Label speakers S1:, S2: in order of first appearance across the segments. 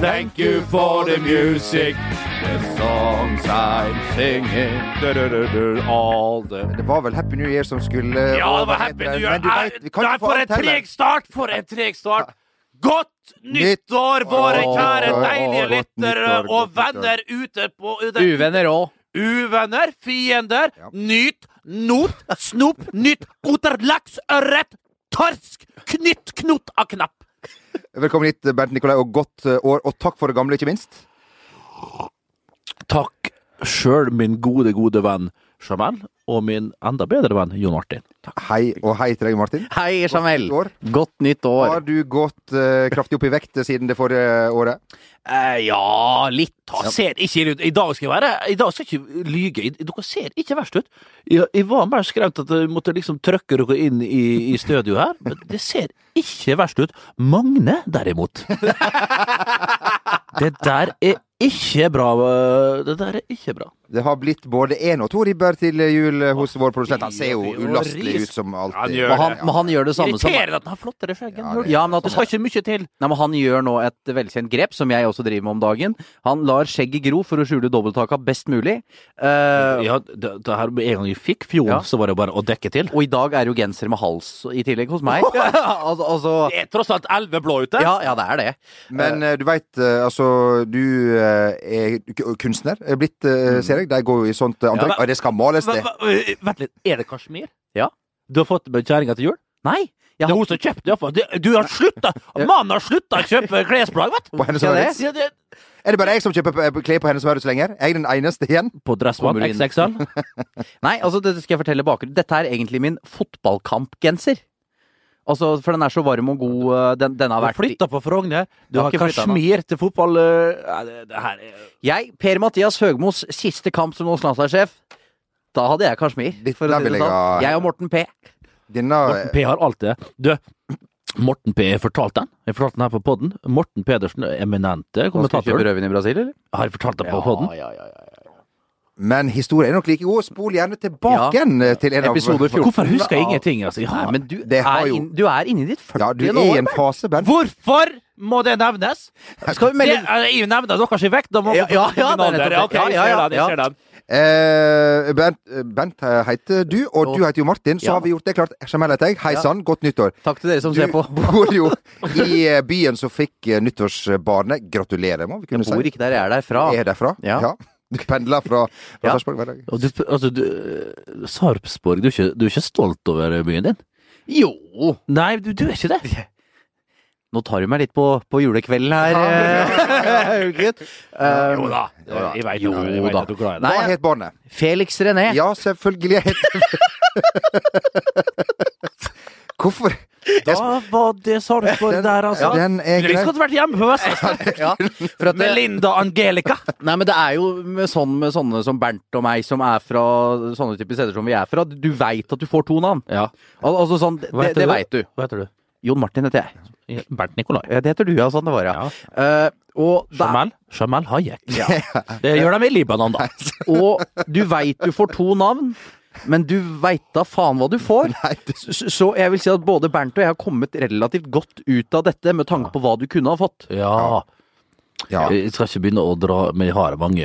S1: Thank you for the music, the songs I'm singing du, du, du, du, All the
S2: Det var vel Happy New Year som skulle
S1: Ja, det var
S2: over
S1: Happy
S2: etter,
S1: New Year.
S2: Men du
S1: Nei,
S2: vet, vi kan
S1: nei,
S2: ikke få
S1: for en
S2: alt heller.
S1: treg start! For en treg start! Godt nyttår, våre
S2: Åh,
S1: kjære
S2: åh,
S1: deilige
S2: åh, godt
S1: lyttere
S2: nyttår,
S1: og
S2: godt
S1: venner ute på
S3: Uvenner òg.
S1: Uvenner, fiender.
S2: Ja.
S1: Nyt, not, snop, nytt, oter, laks, ørret, torsk, knytt, knot av knapp.
S2: Velkommen hit, Bernt Nikolai, og godt eh, år. Og takk for det gamle, ikke minst.
S1: Takk sjøl, min gode, gode venn Jamel, og min enda bedre venn Jon Martin.
S2: Hei, og hei til deg, Martin.
S3: Hei, Jamel.
S2: Godt år.
S3: Godt nytt
S2: Har
S3: år.
S2: du gått eh, kraftig opp i vekt siden det forrige året?
S3: Eh, ja, litt.
S1: Da ser ikke ille ut. I dag skal jeg være I dag skal jeg ikke lyge. I- Dere ser ikke verst ut. Jeg, jeg var mer skremt at jeg måtte liksom trykke dere inn i, i studio her, men det ser ikke verst ut. Magne, derimot Det der er ikke bra. øh, Det der er ikke bra.
S2: Det har blitt både én og to ribber til jul eh, hos vår produsent. Han ser jo
S1: fy, og
S2: ulastelig
S1: ris.
S2: ut som
S1: Ja, han
S2: alltid.
S1: gjør
S3: Må han, må han gjøre det samme som
S1: Irriterende at den har flottere skjegg enn
S2: Ja,
S1: Jørgen.
S2: det-
S3: Ja, men at du
S1: Det skal ikke mye til.
S3: Nei, men Han gjør nå et velkjent grep, som jeg også driver med om dagen. Han lar skjegget gro for å skjule dobbelttaka best mulig. Eh,
S1: Ja, det, det her, med en gang jeg fikk fjorden,
S3: Ja.
S1: så var det bare å dekke til.
S3: Og i dag er det jo genser med hals i tillegg hos meg. altså, altså
S1: Det er tross alt elleve blå ute.
S3: ja, ja, det er det.
S2: Men eh, du veit, altså Du eh, er k- kunstner. Er blitt, eh, ser jeg. De går jo i sånt eh, antrekk.
S1: Mm. Ja.
S2: Og det skal males,
S1: Hva-
S2: det.
S1: hva- øh, Vent litt, er det kasjmir?
S3: Ja.
S1: Du har fått med kjerringa til jul?
S3: Nei!
S1: Det er
S3: Jeg har,
S1: hun som kjøpte det, iallfall. Du, du har slutta! Mannen har slutta å kjøpe klesplagg, vet du!
S2: På hennes
S3: Ja, det.
S2: Maurits.
S1: Ja, det-
S2: Er det bare jeg som kjøper p- klær på hennes Maurits lenger? Jeg er den eneste igjen.
S1: På Dressmann
S3: Kommer inn.
S1: XXL.
S3: nei, altså, dette skal jeg fortelle bakgrunnen. Dette er egentlig min fotballkampgenser. Altså, for den er så varm og god. eh, Den, den har
S1: Du
S3: vært
S1: flytta på Frogner. Du
S3: Jeg har
S1: har
S3: ikke flyttet
S1: kasjmir til fotball øh, ja, det, det her er
S3: Jeg, Per-Mathias Høgmos siste kamp som norsk landslagssjef, da hadde jeg kasjmir.
S2: Litt
S3: For å
S2: der
S3: si
S2: vil
S3: det
S2: jeg ha-
S3: sånn. Jeg og Morten P.
S2: Denne eh,
S1: Morten P har alt det. Du, Morten P, jeg fortalte den. Jeg fortalte den her på podden. Morten Pedersen, eminente kommentator.
S3: rødvin i Brasil, eller?
S1: Har jeg fortalt det på podden?
S3: ja, ja, ja.
S2: Men historien er nok like god. Spol gjerne tilbake
S3: Ja.
S2: igjen eh, til en av
S3: Episode 14.
S1: Hvorfor husker jeg ingenting? Altså? Jeg
S3: Nei,
S1: har-
S3: men du
S2: Det har
S3: er,
S2: jo-
S3: inn, du er inne i ditt 40.
S2: Ja, du er
S3: år.
S2: i en fase, Bernt.
S1: Hvorfor må det nevnes?
S3: Skal vi
S1: Det,
S3: melde
S1: er- jeg nevner deres i vekt. Da må
S3: Ja, ja, ja, det er nettopp det.
S1: Ja, ok, jeg
S3: Ja, ja,
S1: ser den, jeg
S3: ja.
S1: ser den.
S2: Eh, Bernt, eh, Bernt eh, heter du, og
S3: Og-
S2: du heter jo Martin. Så
S3: Ja.
S2: har vi gjort det klart. Jamel heter jeg. Hei
S3: Ja.
S2: sann, godt nyttår.
S3: Takk til dere som
S2: Du
S3: ser på.
S2: bor jo i eh, byen som fikk eh, nyttårsbarnet. Gratulerer, må vi kunne
S3: Jeg bor
S2: si.
S3: ikke der jeg er der fra.
S2: Er derfra?
S3: Ja.
S2: Du pendler fra fra
S3: Ja.
S2: Sarpsborg hver dag.
S1: Og du, altså, du, Sarpsborg, du er, ikke, du er ikke stolt over byen din?
S3: Jo!
S1: Nei, du, du er ikke det.
S3: Nå tar du meg litt på, på julekvelden her, eh, gutt. Eh,
S1: Jo da.
S2: da.
S1: Jeg vet,
S3: Jo
S1: det, jeg vet
S3: da.
S1: at du er glad i det.
S3: Nei,
S2: Hva
S3: jeg-
S2: het barnet?
S3: Felix René.
S2: Ja, selvfølgelig heter Hvorfor?
S1: Da var det Sarpsborg
S2: Den-
S1: der, altså.
S2: den er
S1: Kunne like
S2: grei.
S1: godt vært hjemme på Vestlandet
S3: Ja, for at
S1: med
S3: det,
S1: Linda Angelica.
S3: nei, men det er jo med, sånn, med sånne som Bernt og meg, som er fra sånne typer steder som vi er fra. Du veit at du får to navn.
S1: Ja.
S3: Al altså sånn, det,
S1: Hva heter
S3: det, det
S1: du?
S3: veit du.
S1: Hva heter du?
S3: Jon Martin heter jeg.
S1: Bernt Nikolai.
S3: Ja, Det heter du, ja. Sånn det var, ja.
S1: Ja.
S3: Eh, og, da,
S1: Jamal, Jamal Hayek. Det gjør de i Libanon, da.
S3: og du veit du får to navn, men du veit da faen hva du får.
S2: Nei, du-
S3: Så, så jeg vil si at både Bernt og jeg har kommet relativt godt ut av dette med tanke på hva du kunne ha fått.
S1: Ja.
S2: Ja.
S1: Jeg skal ikke begynne å dra, men jeg har mange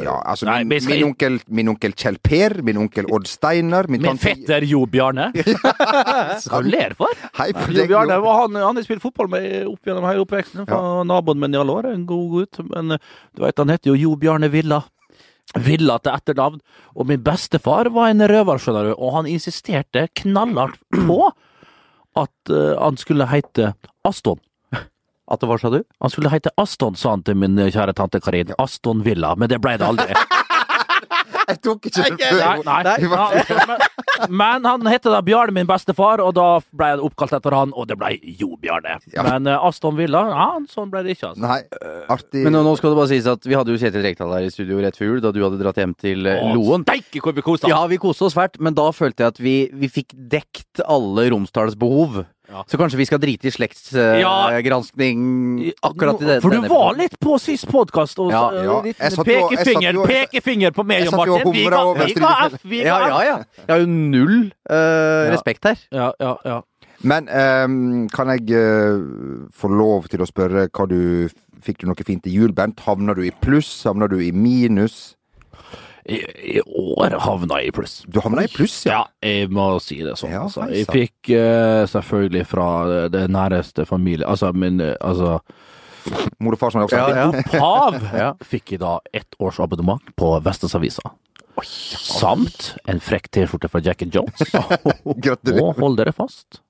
S2: ja altså,
S1: Nei,
S2: min,
S1: men jeg skal-
S2: min, onkel, min onkel Kjell Per, min onkel Odd Steinar Min,
S1: Min
S2: tante-
S1: fetter Jo Bjarne. Skal du ler for?
S2: Hei på
S1: Jo
S2: deg,
S1: Bjarne
S2: Jo.
S1: han, han har spilt fotball med opp gjennom hele oppveksten. Fra Naboen min i alle år. En god gutt. Men eh, du vet, han heter jo Jo Bjarne Villa. Villa til etternavn. Og min bestefar var en røver, skjønner du. Og han insisterte knallhardt på at eh, han skulle hete Aston.
S3: At det var, sa du?
S1: Han skulle hete Aston, sa han til min kjære tante Karin. Aston Villa. Men det ble det aldri.
S2: Jeg tok ikke det
S1: Nei,
S2: før.
S1: nei, Ja, men, men han heter da Bjarne, min bestefar, og da ble jeg oppkalt etter han, og det ble Jo Bjarne.
S2: Ja.
S1: Men eh, Aston Villa, ja, sånn ble det ikke. altså.
S2: Nei, artig.
S3: Men nå, nå skal det bare sies at vi hadde jo Kjetil Rekdal her i studio rett før jul, da du hadde dratt hjem til eh,
S1: Å,
S3: Loen.
S1: Steike hvor vi kosa
S3: Ja, vi koste oss fælt, men da følte jeg at vi, vi fikk dekt alle Romsdals behov.
S1: Ja.
S3: Så kanskje vi skal drite i
S1: Ja.
S3: slektsgranskning akkurat i den
S1: For du
S3: denne
S1: var
S3: episoden.
S1: litt på sist podkast. Og,
S3: Ja,
S1: så-
S2: ja.
S1: litt
S2: Jeg satt jo- jeg satt
S1: Pekefinger
S2: jo- jeg-
S1: pekefinger på meg
S2: jeg
S1: og
S2: satt jo og
S1: Martin. Vi
S2: humra
S1: ga,
S2: over
S1: vi ga F, vi
S3: Ja,
S1: ga
S3: ja,
S1: F.
S3: ja. Jeg har jo null
S1: Ja.
S3: eh, respekt her.
S1: Ja, ja, ja.
S2: Men ehm, kan jeg eh, få lov til å spørre hva du Fikk du noe fint i jul, Bent? Havna du i pluss? Havna du i minus?
S1: I, I år havna jeg i pluss.
S2: Du havna i pluss, ja.
S1: Ja, jeg må si det sånn.
S2: Ja,
S1: altså.
S2: hei
S1: Jeg
S2: sann.
S1: fikk eh, selvfølgelig fra det- det næreste familie Altså min eh, altså,
S2: Mor og far som er oppsatt.
S1: Pav fikk jeg da ett års abonnement på Vestlandsavisa. Samt en frekk T-skjorte fra Jack and Jones.
S2: Gratulerer.
S1: Og hold dere fast,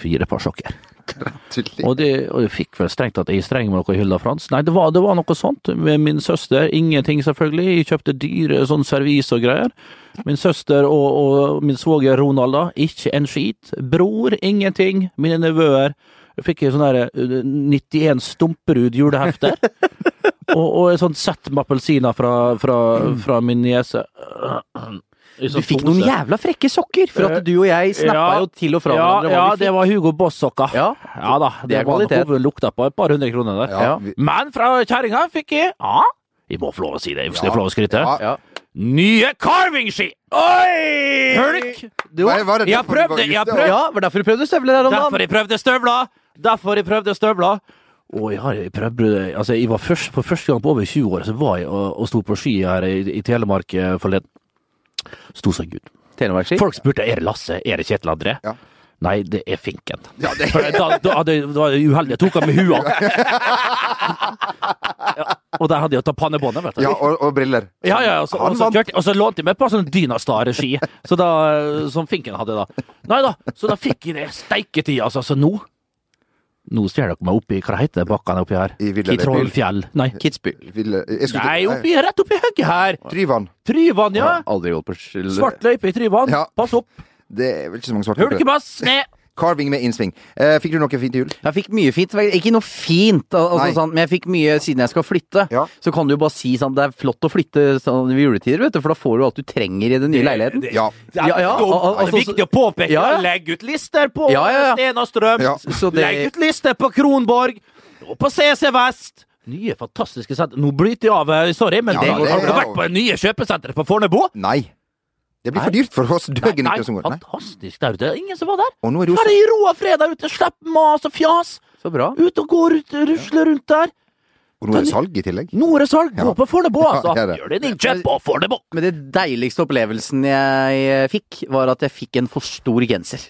S1: fire par sokker.
S2: Gratulerer.
S1: Og det, og jeg fikk vel strengt tatt jeg er streng med noe i hylla Frans. Nei, det var, det var noe sånt med min søster. Ingenting, selvfølgelig. Jeg kjøpte dyre sånn servis og greier. Min søster og, og min svoger Ronald, da. Ikke en skit. Bror, ingenting. Mine nevøer. Jeg fikk en sånn der, eh, 91 Stumperud julehefter. og, og et sånt sett med appelsiner fra, fra, fra min niese. I
S3: Du
S1: sånn
S3: fikk noen
S1: pose.
S3: jævla frekke sokker! For at du og jeg snappa
S1: Eh, Ja.
S3: jo til og fra
S1: Ja,
S3: hverandre.
S1: ja,
S3: hva vi
S1: det
S3: fikk.
S1: var Hugo Boss-sokker.
S3: Ja.
S1: Ja da, det,
S3: Det er
S1: var
S3: kvalitet.
S1: noe lukta på et par hundre kroner der.
S2: Ja, vi-
S1: Men fra kjerringa fikk jeg Ja, jeg må få lov å si det, hvis jeg får lov å skryte.
S2: Ja.
S3: Ja.
S1: Nye carving-ski!
S3: Oi!
S1: Hulk! Du,
S2: Nei, var det
S1: jeg har
S2: derfor du
S1: prøvd
S2: var
S1: det! Jeg har
S2: ute?
S1: prøvd.
S3: Ja, var derfor du prøvde støvler der om
S1: Derfor
S3: dagen.
S1: jeg prøvde støvler! Derfor jeg prøvde støvler! Og jeg har jeg prøvd Altså, jeg var først, for første gang på over 20 år så var jeg og, og sto på ski her i, i Telemark eh, forleden. Sto som gud.
S3: Telemarkski.
S1: Folk spurte er det Lasse, er det Kjetil André.
S2: Ja.
S1: Nei, det er Finken. For da, da, hadde, da var det uheldig. Jeg tok han med hua. ja, og der hadde jeg tatt pannebåndet, vet du.
S2: ja og, og briller.
S1: Ja, altså, ja, og så,
S2: Han
S1: og så,
S2: vant.
S1: kjørte, og så lånte jeg meg et par sånne Dynastar-ski så da- som Finken hadde da. Nei da, så da fikk jeg det steiketid, altså. Så nå Nå stjeler dere meg oppi Hva heter det bakkene oppi her?
S2: I Villa
S1: Trollfjell? Nei.
S3: Kidsby.
S2: Ville- jeg skulle-
S1: Nei, oppi, rett oppi høyre her!
S2: Tryvann.
S1: Tryvann, ja.
S3: Aldri gått på skil-
S1: Svart løype i Tryvann.
S2: Ja.
S1: Pass opp.
S2: Det er vel ikke så mange svarte på det.
S1: Hulkebass ned!
S2: Carving med innsving. Eh, fikk du noe fint i jul?
S3: Jeg fikk mye fint. Ikke noe fint, al-
S2: Nei.
S3: altså, sånn, men jeg fikk mye siden jeg skal flytte.
S2: Ja.
S3: Så kan du jo bare si sånn Det er flott å flytte sånn ved juletider, vet du, for da får du alt du trenger i den nye leiligheten.
S2: Ja.
S1: Det er,
S3: Ja, ja,
S1: dumt.
S3: al-
S1: det er
S3: altså-
S1: viktig å påpeke.
S3: Ja, ja.
S1: Legg ut lister på
S3: Ja, ja, ja.
S1: Sten og Strøm.
S2: Ja.
S3: Så det-
S1: Legg ut lister på Kronborg og på CC Vest. Nye, fantastiske senter. Nå bryter jeg av, eh, sorry, men
S2: Ja,
S1: det,
S2: det-
S1: har du
S2: ja.
S1: vært på det nye kjøpesenteret på Fornebu?
S2: Nei. Det blir
S1: Nei.
S2: for dyrt for oss døgn ikke som går. Nei.
S1: fantastisk der ute. Ingen som var der.
S2: Og nå er det jo
S1: Bare i ro og fred der ute. Slipp mas og fjas.
S3: Så bra.
S1: Ut og gå rundt, rusle rundt der.
S2: og nå er det salg i tillegg.
S1: Nå er det salg. Gå
S2: Ja.
S1: på Fornebu,
S2: Ja,
S1: altså.
S2: det er det.
S1: Gjør din innkjøp på Fornebu.
S3: Men det deiligste opplevelsen jeg fikk, var at jeg fikk en for stor genser.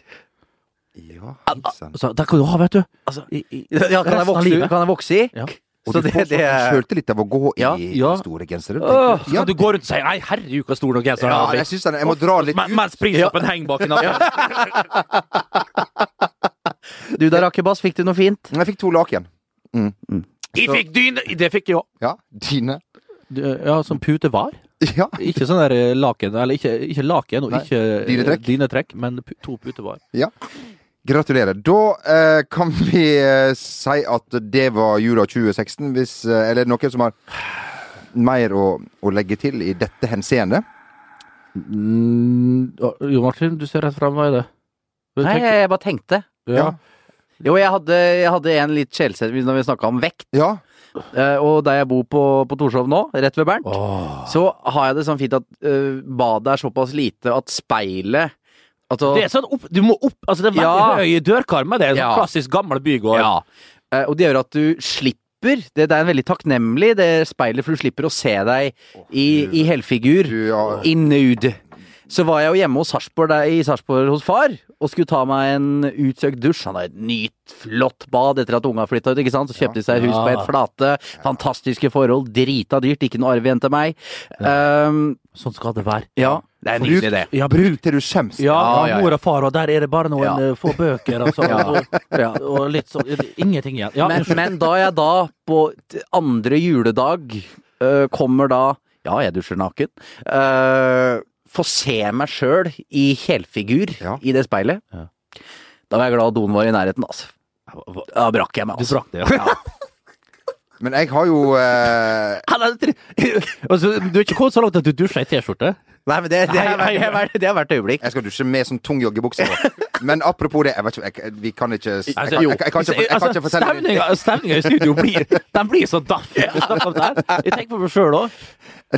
S2: Ja, sant.
S1: Altså, der kan du ha, vet du. I, i,
S3: Ja, kan, jeg
S1: Resten av
S3: vokse,
S1: livet.
S3: kan jeg vokse i?
S1: Ja.
S2: Og
S3: Så
S2: du får
S3: det, det
S2: sånn sjøltillit av å gå i
S3: Ja,
S1: ja.
S2: store
S1: Åh,
S2: gensere. tenker
S1: så
S2: du. Ja,
S1: kan du gå rundt og si 'nei, herregud, hva stor den genseren
S2: ja,
S1: har blitt'.
S2: jeg syns den Jeg må dra litt
S1: Men-
S2: ut.
S1: Mens prislappen henger bak en annen.
S3: Du der, Akebass, fikk du noe fint?
S2: Jeg fikk to laken.
S1: Jeg fikk dyne! Det fikk jeg òg.
S2: Ja, dine.
S1: Ja, som pute var.
S2: Ja.
S1: Ikke sånn der laken, eller ikke, laken og
S2: Nei,
S1: ikke
S2: dynetrekk.
S1: dynetrekk, men to puter var.
S2: ja. Gratulerer. Da eh, kan vi eh, si at det var jula 2016, hvis eh, Eller noen som har mer å, å legge til i dette henseende?
S1: Mm, Jo Martin, du ser rett fram, hva er det? Du
S3: Nei,
S1: tenker-
S3: jeg, jeg bare tenkte.
S1: ja.
S3: Jo, jeg hadde, jeg hadde en litt sjelset når vi snakka om vekt.
S2: Ja.
S3: Eh, Og der jeg bor på, på Torshov nå, rett ved Bernt,
S1: Åh.
S3: så har jeg det sånn fint at eh, badet er såpass lite at speilet altså,
S1: Det er sånn opp, du må opp altså Det er
S3: Ja.
S1: veldig høy dørkarme. Det er sånn
S3: Ja.
S1: klassisk gammel bygård.
S3: Ja. Eh, Og det gjør at du slipper det, det er en veldig takknemlig det speilet, for du slipper å se deg i, i helfigur.
S2: Du, ja.
S3: I nude. Så var jeg jo hjemme hos Sarsborg, der, i Sarpsborg hos far og skulle ta meg en utsøkt dusj. Han har et nytt, flott bad etter at unga flytta ut. ikke sant? Så kjøpte de seg hus på et flate. Fantastiske forhold. Drita dyrt. Ikke noe arv igjen til meg. Um,
S1: Sånn skal det være.
S3: ja, det er
S2: Bruk,
S3: nydelig, det.
S1: Ja,
S2: bruk til du skjemmes.
S1: Ja,
S3: Ja, ja, ja.
S1: mor og far, og der er det bare noen
S3: Ja.
S1: eh, få bøker og sånn. Og,
S3: Ja.
S1: og litt sånn Ingenting igjen. Ja,
S3: men,
S1: unnskyld.
S3: men da jeg da på t- andre juledag øh, kommer da Ja, jeg dusjer naken. øh, får se meg sjøl i helfigur
S2: Ja.
S3: i det speilet.
S1: Ja.
S3: Da var jeg glad doen var i nærheten, altså.
S1: Hva-
S3: Da brakk jeg meg,
S1: Du
S3: altså.
S1: brakk det, ja.
S2: Men jeg har jo eh,
S1: Han hadde tre- altså, du er ikke kommet så langt at du dusjer i T-skjorte?
S3: Nei, men det, det, er,
S1: Nei,
S3: det, er, hvert- det er hvert øyeblikk.
S2: Jeg skal dusje med sånn tung joggebukse på. Men apropos det, jeg vet ikke, jeg, vi kan ikke Jeg, kan-
S1: Altså,
S2: jeg, jeg, kan ikke- jeg kan ikke fortelle det.
S1: Stemninga, stemninga i studio blir Den blir så daff. Jeg tenker på meg sjøl òg.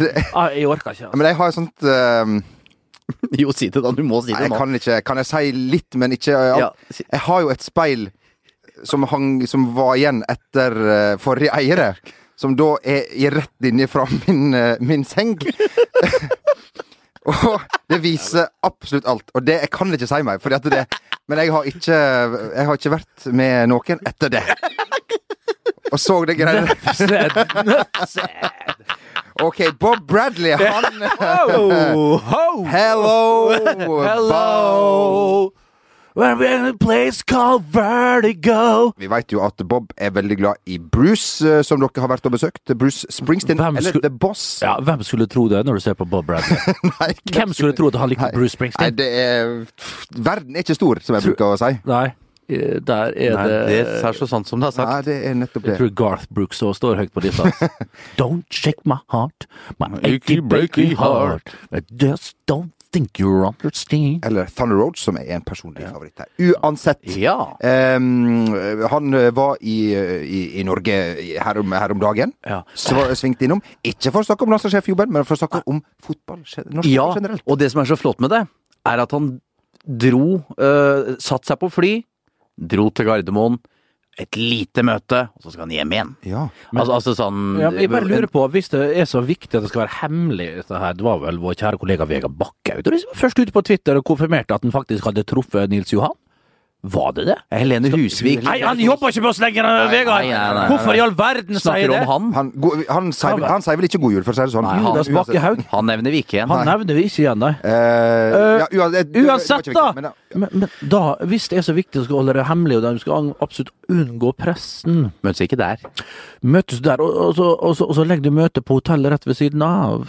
S1: Jeg orker ikke. Altså.
S2: Men jeg har et sånt eh,
S3: Jo, si det da. Du må si
S2: Nei,
S3: det
S2: jeg
S3: nå.
S2: kan ikke Kan jeg si litt, men ikke eh, alt?
S3: Ja, si-
S2: Jeg har jo et speil som, hang, som var igjen etter eh, forrige eiere. Som da er i rett linje fra min, eh, min seng. og det viser absolutt alt. Og det jeg kan ikke si meg, fordi at det Men jeg har ikke, jeg har ikke vært med noen etter det. Og så det greiene. OK, Bob Bradley, han
S1: Ho, ho.
S2: Hello! Bob.
S1: Hello. We're in a place called Vertigo.
S2: Vi vet jo at Bob er veldig glad i Bruce, eh, som dere har vært og besøkt. Bruce Springsteen,
S1: Hvem
S2: eller
S1: skulle-
S2: The Boss.
S1: Ja, hvem skulle tro det når du ser på Bob Bradley?
S2: Nei,
S1: Hvem skulle tro at han likte Bruce
S2: nei,
S1: Springsteen?
S2: det er pff, Verden er ikke stor, som jeg bruker å si.
S1: Nei, eh, der er
S3: Nei, det
S1: det
S3: er så sant som det er sagt.
S2: Nei, det er nettopp
S1: Jeg
S2: det.
S1: tror Garth Brooks også står høyt på lista. don't shake my heart, my achy breaky heart. I just don't think you understand.
S2: Eller Thunder Road, som er en personlig favoritt her. Uansett.
S3: Ja.
S2: ehm, han eh, var i, eh, i, i Norge i- her om, her om dagen.
S1: Ja.
S2: Så var- svingte innom. Ikke for å snakke om landslagssjefjobben, men for å snakke om fotball, gen- norsk
S3: Ja,
S2: fotball generelt.
S3: og det som er så flott med det, er at han dro uh, Satt seg på fly, dro til Gardermoen, et lite møte, og så skal han hjem igjen.
S2: Ja.
S3: altså, altså sånn
S1: Ja, men jeg bare lurer på, hvis det er så viktig at det skal være hemmelig, dette her, det var vel vår kjære kollega Vegard Bakkhaug som var liksom, først ute på Twitter og konfirmerte at han faktisk hadde truffet Nils Johan? Var det det?
S3: Helene Husvik
S1: Nei, han jobber ikke med oss lenger, Vegard!
S3: nei, nei, nei, nei.
S1: Hvorfor i all verden sier
S3: snakker
S1: det?
S3: om han.
S2: Han, go- han, sier, vel- han sier vel ikke god jul, for å si det sånn.
S3: Nei, han-
S1: Judas Bakkehaug?
S3: Han nevner vi ikke igjen.
S1: Han nevner vi ikke igjen, nei.
S2: Eh, ja, uan- det- det var ikke
S1: Uansett,
S2: viktig,
S1: da!
S2: men
S1: Men, men da, hvis det er så viktig å skal holde det hemmelig, og de skal absolutt unngå pressen
S3: Møtes ikke der.
S1: Møtes der, og, og, så, og, så, og så legger du møtet på hotellet rett ved siden av.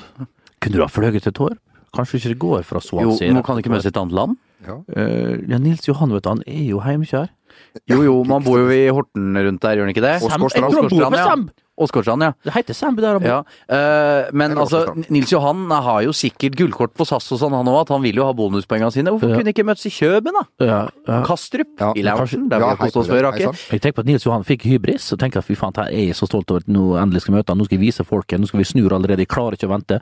S1: Kunne du ha fløyet til Torp? Kanskje ikke det går fra
S3: Jo,
S1: Swansea.
S3: nå kan du ikke møtes i et annet land.
S1: Eh, ja, Nils Johan, vet du, han er jo heimkjær.
S3: Jo jo, man bor jo i Horten rundt der, gjør man ikke det?
S2: Og
S1: Sem-
S2: Skorstrand.
S1: Jeg tror han bor Mm.
S3: Skorstrand,
S1: på
S3: ja.
S1: Sem!
S3: Åsgårdstrand, ja.
S1: Det heter Sem der han bor.
S3: ja. eh, men
S2: Eller
S3: altså,
S2: Åsgårdstrand.
S3: Nils Johan har jo sikkert gullkort på SAS og sånn, han òg, at han vil jo ha bonuspoengene sine. Hvorfor
S1: Ja.
S3: kunne ikke møtes i Kjøben, da?
S1: Ja, ja.
S3: Kastrup?
S2: Ja,
S3: I loungen? Der
S2: Ja,
S3: vi har kost
S2: hei
S3: oss
S2: på det.
S3: før,
S2: Hei
S3: Aker.
S2: sann.
S1: Jeg tenker på at Nils Johan fikk hybris, og tenker at fy faen, her er jeg så stolt over at nå endelig skal møte han, nå skal jeg vise folket, nå skal vi snu allerede, jeg klarer ikke å vente.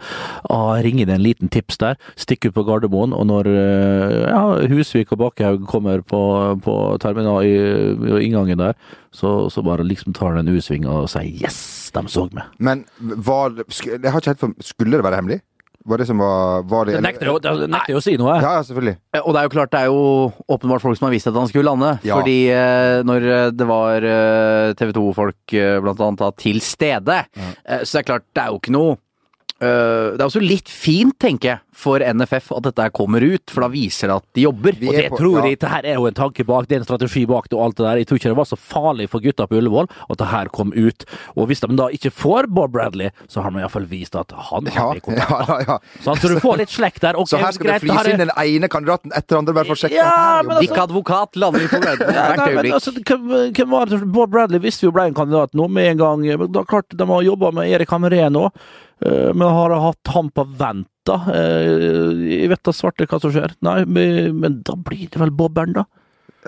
S1: Ah, ring inn en liten tips der, stikk ut på Gardermoen, og når eh, ja, Husvik og Bakkehaug kommer på, på terminal i, i inngangen der, så, så bare liksom tar han en U-sving og sier yes, de så meg.
S2: Men var det- sk- Jeg har ikke helt for Skulle det være hemmelig? Var det som var, var det,
S1: Jeg
S2: eller-
S1: nekter jo jeg nekter jo å si noe, jeg.
S2: Ja, ja, selvfølgelig.
S3: Eh, Og det er jo klart, det er jo åpenbart folk som har visst at han skulle lande.
S2: Ja.
S3: Fordi eh, når eh, det var TV 2-folk eh, blant annet da, til stede, eh, så det er klart, det er jo ikke noe eh, det er også litt fint, tenker jeg, for NFF at dette her kommer ut, for da viser det at de jobber.
S2: Vi
S1: Og
S2: er
S1: det
S2: på-
S1: tror
S2: ja.
S1: jeg, det her er jo en tanke bak, det er en strategi bak det og alt det der. Jeg tror ikke det var så farlig for gutta på Ullevål at det her kom ut. Og hvis de da ikke får Bob Bradley, så har de iallfall vist at han
S2: Ja,
S1: har ja. kontakt.
S2: ja, ja, ja.
S1: Sånn, så du får litt slekk der.
S2: Så her skal det
S1: flyse
S2: flyse inn den ene kandidaten etter andre, bare for å sjekke
S1: Ja,
S2: at her
S1: men altså-
S2: jobber-
S3: Dick Advokat lander på Gardermoen hvert
S1: Nei, men
S3: øyeblikk.
S1: altså, hvem, hvem var det? Bob Bradley visste jo ble en kandidat nå med en gang. Men da klart De har jobba med Erik Hamrén nå, eh, men har hatt han på vent, da. Eh, Jeg vet da svarte hva som skjer. Nei, men men da blir det vel Bobbern, da.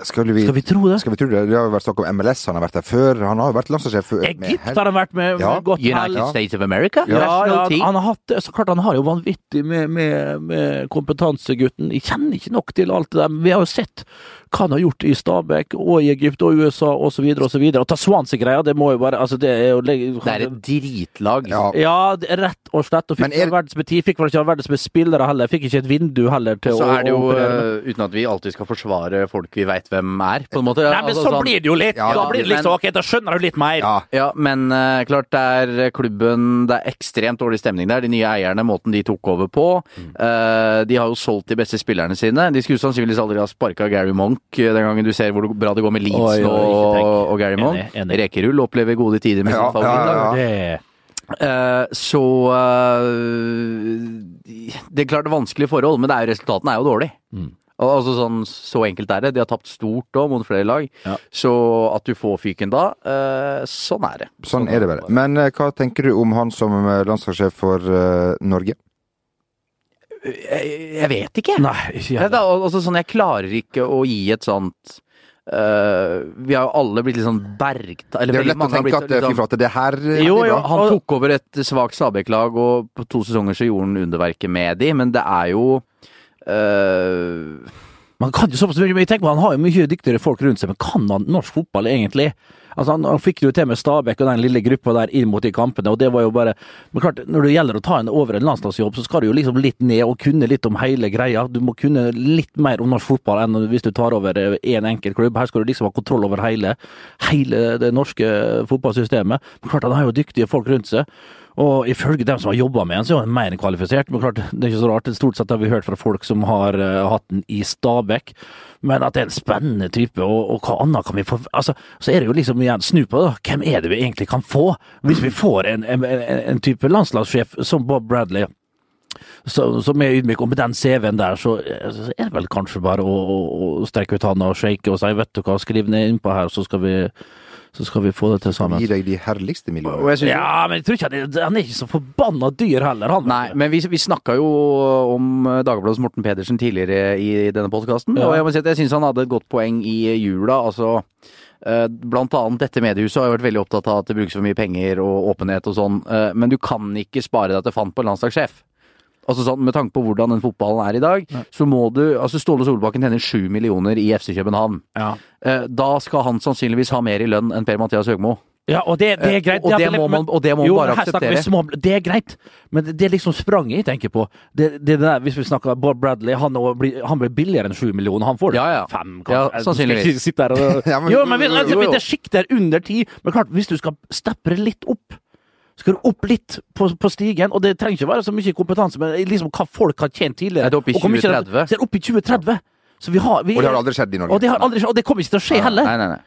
S2: Skulle vi,
S1: Skal vi tro det?
S2: skal vi tro det? Det har jo vært snakk om MLS, han har vært der før. Han har jo vært landslagssjef før. med
S1: Egypt
S2: hel-
S1: har han vært med, med
S2: Ja,
S1: godt hell.
S3: United States of America?
S1: Ja,
S3: National
S1: ja, han,
S3: team.
S1: han har hatt det. Så klart han har jo vanvittig med, med, med kompetansegutten. Jeg kjenner ikke nok til alt det der, men vi har jo sett hva han har gjort i Stabæk og i Egypt og USA osv. osv. Og ta Swansea-greia, det må jo bare altså, Det er jo
S3: Det er et dritlag.
S2: Ja.
S1: Ja, det er rett og slett. Og fikk,
S2: Men er-
S1: ikke verdens med tid, fikk vel ikke all verdens med spillere heller. Fikk ikke et vindu heller til
S3: Så
S1: å
S3: er det jo,
S1: å operere med.
S3: eh, uten at vi alltid skal forsvare folk vi veit hvem er, på en måte.
S1: Nei, men
S3: Altså,
S1: sånn
S3: sånn-
S1: blir det jo litt!
S2: Ja,
S1: da blir det
S3: men-
S1: liksom, ok, da skjønner du litt mer.
S2: Ja.
S3: Ja, men eh, klart det er klubben Det er ekstremt dårlig stemning der. De nye eierne, måten de tok over på. eh, de har jo solgt de beste spillerne sine. De skulle sannsynligvis aldri ha sparka Gary Monk eh, den gangen du ser hvor bra det går med Leeds
S1: Oi, oi,
S3: og,
S1: ikke tenk.
S3: og Gary Monk.
S1: Enig, enig.
S3: Rekerull opplever gode tider med
S2: Ja,
S3: sin favoritt.
S2: ja, ja.
S1: Det-
S3: Eh, så eh, Det er klart vanskelige forhold, men det er jo, resultatene er jo dårlige.
S1: Mm.
S3: Al- Altså sånn, Så enkelt er det. De har tapt stort òg, mot flere lag.
S1: Ja.
S3: Så at du får fyken da, eh, sånn er det.
S2: Sånn er det bare. Men eh, hva tenker du om han som eh, landslagssjef for eh, Norge?
S3: Jeg, jeg vet ikke.
S1: Nei, ikke
S3: Jeg,
S1: jeg.
S3: det er al- altså sånn, jeg klarer ikke å gi et sånt eh, Vi har jo alle blitt litt sånn
S2: Det
S3: bergta... Eller
S2: er jo
S3: veldig
S2: lett å
S3: mange
S2: tenke
S3: har blitt
S2: at eh,
S3: litt
S2: fy
S3: sånn-
S2: flate, det her eh,
S1: Jo,
S2: blir
S1: jo,
S2: bra.
S3: Han tok over et svakt Stabæk-lag, og på to sesonger så gjorde han underverket med de, men det er jo eh,
S1: Man kan jo såpass mye, men jeg tenker på, Han har jo mye dyktigere folk rundt seg, men kan han norsk fotball egentlig? Altså Han, han fikk det jo til med Stabæk og den lille gruppa der inn mot de kampene, og det var jo bare Men klart, når det gjelder å ta en over en landslagsjobb, så skal du jo liksom litt ned og kunne litt om hele greia. Du må kunne litt mer om norsk fotball enn hvis du tar over én enkelt klubb. Her skal du liksom ha kontroll over hele, hele det norske eh, fotballsystemet. Men klart, han har jo dyktige folk rundt seg. Og ifølge dem som har jobba med den, så er han mer enn kvalifisert. Men klart, det er ikke så rart. Stort sett har vi hørt fra folk som har eh, hatt den i Stabæk. Men at det er en spennende type, og, og hva annet kan vi få altså, Så er det jo liksom igjen, snu på det, da. Hvem er det vi egentlig kan få? Hvis vi får en, en, en, en type landslagssjef som Bob Bradley, så, som er ydmyk, og med den CV-en der, så, så er det vel kanskje bare å, å, å strekke ut handa og shake og si 'vet du hva, skriv ned innpå her, så skal vi, så skal vi få det til sammen'.
S2: Gi deg de herligste
S3: og
S2: millionene.
S3: jeg synes,
S1: Ja, men jeg tror ikke han er, han er ikke så forbanna dyr heller, han.
S3: Nei, men vi, vi snakka jo om Dagbladets Morten Pedersen tidligere i denne podkasten.
S1: Ja.
S3: Og jeg må si at jeg syns han hadde et godt poeng i jula. Altså, eh, blant annet dette mediehuset har jo vært veldig opptatt av at det brukes for mye penger og åpenhet og sånn. eh, Men du kan ikke spare deg til fant på en landslagssjef. Altså sånn, Med tanke på hvordan den fotballen er i dag, så må du altså Ståle Solbakken tjener sju millioner i FC København.
S1: Ja.
S3: Eh, Da skal han sannsynligvis ha mer i lønn enn Per Mathias Høgmo.
S1: Ja, og det, det er greit.
S3: Eh, Og
S1: Ja,
S3: det
S1: men-
S3: må man- og det må man
S1: jo,
S3: bare
S1: men her snakker vi
S3: akseptere.
S1: Små, det er greit, men det, det er liksom spranget jeg tenker på. Det, det er det der, hvis vi snakker Bob Bradley, han, nå blir, han blir billigere enn sju millioner. Han får det.
S3: Ja, ja.
S1: Fem,
S3: Ja,
S1: kanskje.
S3: sannsynligvis.
S1: Jeg skal ikke sitte her og,
S2: Ja, men-
S1: jo, men vi-
S2: jo, jo,
S1: altså,
S3: jo.
S1: hvis det er sjikt der under ti Men klart, hvis du skal steppe det litt opp skal du opp litt på, på stigen, og det trenger ikke være så mye kompetanse, men liksom hva folk har tjent tidligere.
S3: Er det opp i
S1: og hvor mye de-
S3: 2030?
S1: Så er det opp i 2030. Så vi har, vi,
S2: Og det har aldri skjedd i Norge.
S1: Og det, har aldri, skjedd, og det kommer ikke til å skje heller.
S3: Nei, nei, nei.